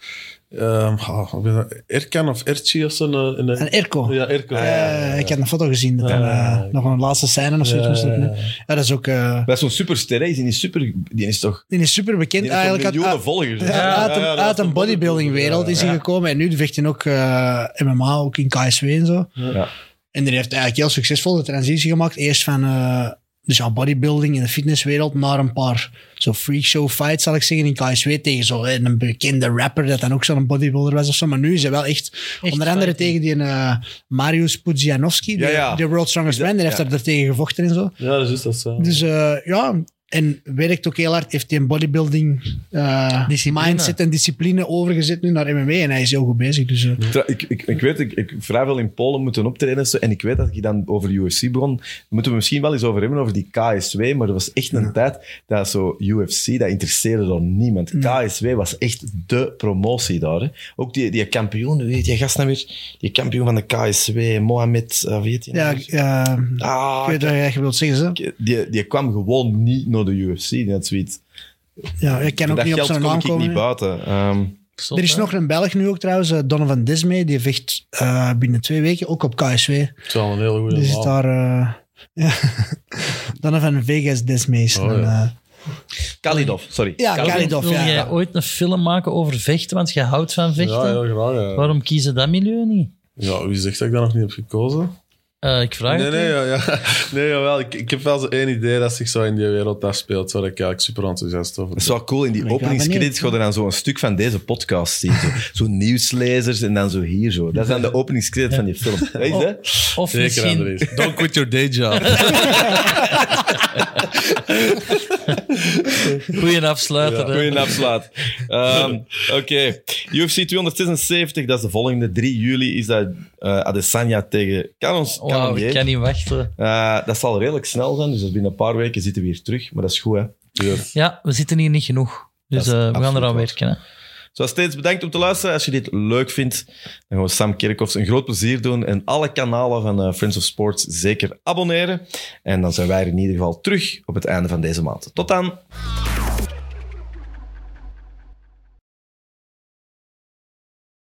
S2: Ehm, ah, ik weet niet, Erkan of Erchi of zo. eh, een- een-
S3: Een Erko.
S2: Ja, Erkan.
S3: Eh, ik had een foto gezien. Dat
S2: Ja,
S3: hem, eh,
S2: ja, ja.
S3: nog een laatste scène of zoiets.
S2: Ja,
S3: moest
S2: ja,
S3: doen.
S2: ja.
S3: Ja, dat is ook... eh,
S1: Dat is zo'n superster, hè? Die is in Die, super, die is toch
S3: die is super bekend
S1: die heeft toch
S3: eigenlijk. ah, uit-
S1: miljoenen
S3: uit-
S1: volgers. hè?
S3: Ja, uit, een-
S2: ja, dat
S3: uit
S2: was de
S3: een bodybuilding-wereld is hij gekomen. En nu vecht hij ook eh, MMA, ook in KSW en zo.
S1: Ja.
S3: En die heeft eigenlijk heel succesvol de transitie gemaakt. Eerst van eh, dus ja, bodybuilding in de fitnesswereld naar een paar zo freak show fights, zal ik zeggen, in KSW tegen zo, eh, een bekende rapper dat dan ook zo'n bodybuilder was of zo. Maar nu is hij wel echt, onder andere
S4: fighting.
S3: tegen die eh, Marius Pudzianowski, die
S1: Ja, ja.
S3: de World Strongest Man, die heeft
S1: ja.
S3: daar tegen gevochten en zo.
S2: Ja, dat is juist dat. zo.
S3: Dus eh, ja, en werkt ook heel hard. Heeft hij een bodybuilding eh,
S4: Discipline.
S3: mindset en discipline overgezet nu naar MMA. En hij is heel goed bezig. Dus, eh,
S1: Tra- Ik, ik, ik weet, ik, ik vrij veel in Polen moeten optreden. en zo. En ik weet dat ik dan over UFC begon. Daar moeten we misschien wel eens over hebben, over die KSW. Maar er was echt een tijd dat zo UFC, dat interesseerde dan niemand. KSW was echt de promotie daar. Hè. Ook die, die kampioen, hoe heet die gast nou weer? Die kampioen van de KSW, Mohamed, eh, weet je
S3: ja,
S1: nou?
S3: eh, ik
S1: Ah,
S3: weet wat je wilt zeggen. Zo.
S1: die, die kwam gewoon niet naar de UFC. Die had zoiets.
S3: Ja, ik kan
S1: Voor
S3: ook
S1: dat
S3: niet op
S1: geld
S3: zijn
S1: kom
S3: naam
S1: ik niet
S3: komen. hè.
S1: buiten. Ehm,
S4: Zot,
S3: Er is
S4: hè?
S3: nog een Belg nu ook trouwens, eh, Donovan Dismay. Die vecht eh, binnen twee weken ook op KSW.
S2: dat is wel een hele goede
S3: Die
S2: naam.
S3: zit daar... eh, ja. Donovan Vegas Dismay. is
S2: Oh,
S3: een,
S2: ja.
S3: eh,
S1: Kalidov, sorry.
S3: ja,
S4: Calvin,
S3: Kalidov.
S4: Wil
S3: Ja,
S4: jij
S3: ja.
S4: ooit een film maken over vechten? Want je houdt van vechten.
S2: Ja, heel graag. Ja.
S4: Waarom kiezen dat milieu niet?
S2: Ja, wie zegt dat ik daar nog niet heb gekozen?
S4: Eh, ik vraag
S2: Nee,
S4: het
S2: nee,
S4: u.
S2: ja, ja. nee jawel. Ik, ik heb wel zo één idee dat zich zo in die wereld afspeelt. Waar ik eigenlijk super enthousiast over
S1: Dat
S2: ben.
S1: is wel cool. In die
S3: ben benieuwd,
S1: openingscredits
S3: ja.
S1: gaat er dan zo'n stuk van deze podcast zien. Zo, zo nieuwslezers en dan zo hier zo. Dat is dan de openingscredits van die film. Weet je? hè?
S4: Of
S2: Zeker,
S4: misschien...
S2: Andries. Don't quit your day job.
S4: Goeie afsluiter. hè.
S1: Goeie afslaat. Ehm, Oké. UFC 276, dat is de volgende. 3 juli is dat eh, Adesanya tegen Canons.
S4: Wauw, ik kan niet wachten.
S1: Eh, dat zal redelijk snel zijn, dus dat is binnen een paar weken zitten we weer terug. Maar dat is goed, hè?
S4: Ja, we zitten hier niet genoeg. Dus
S1: Dat is
S4: eh, we gaan
S1: absoluut
S4: eraan
S1: waar.
S4: werken. Hè.
S1: Zoals steeds, bedankt om te luisteren. Als je dit leuk vindt, dan gaan we Sam Kerkhoffs een groot plezier doen. En alle kanalen van eh, Friends of Sports zeker abonneren. En dan zijn wij er in ieder geval terug op het einde van deze maand. Tot dan!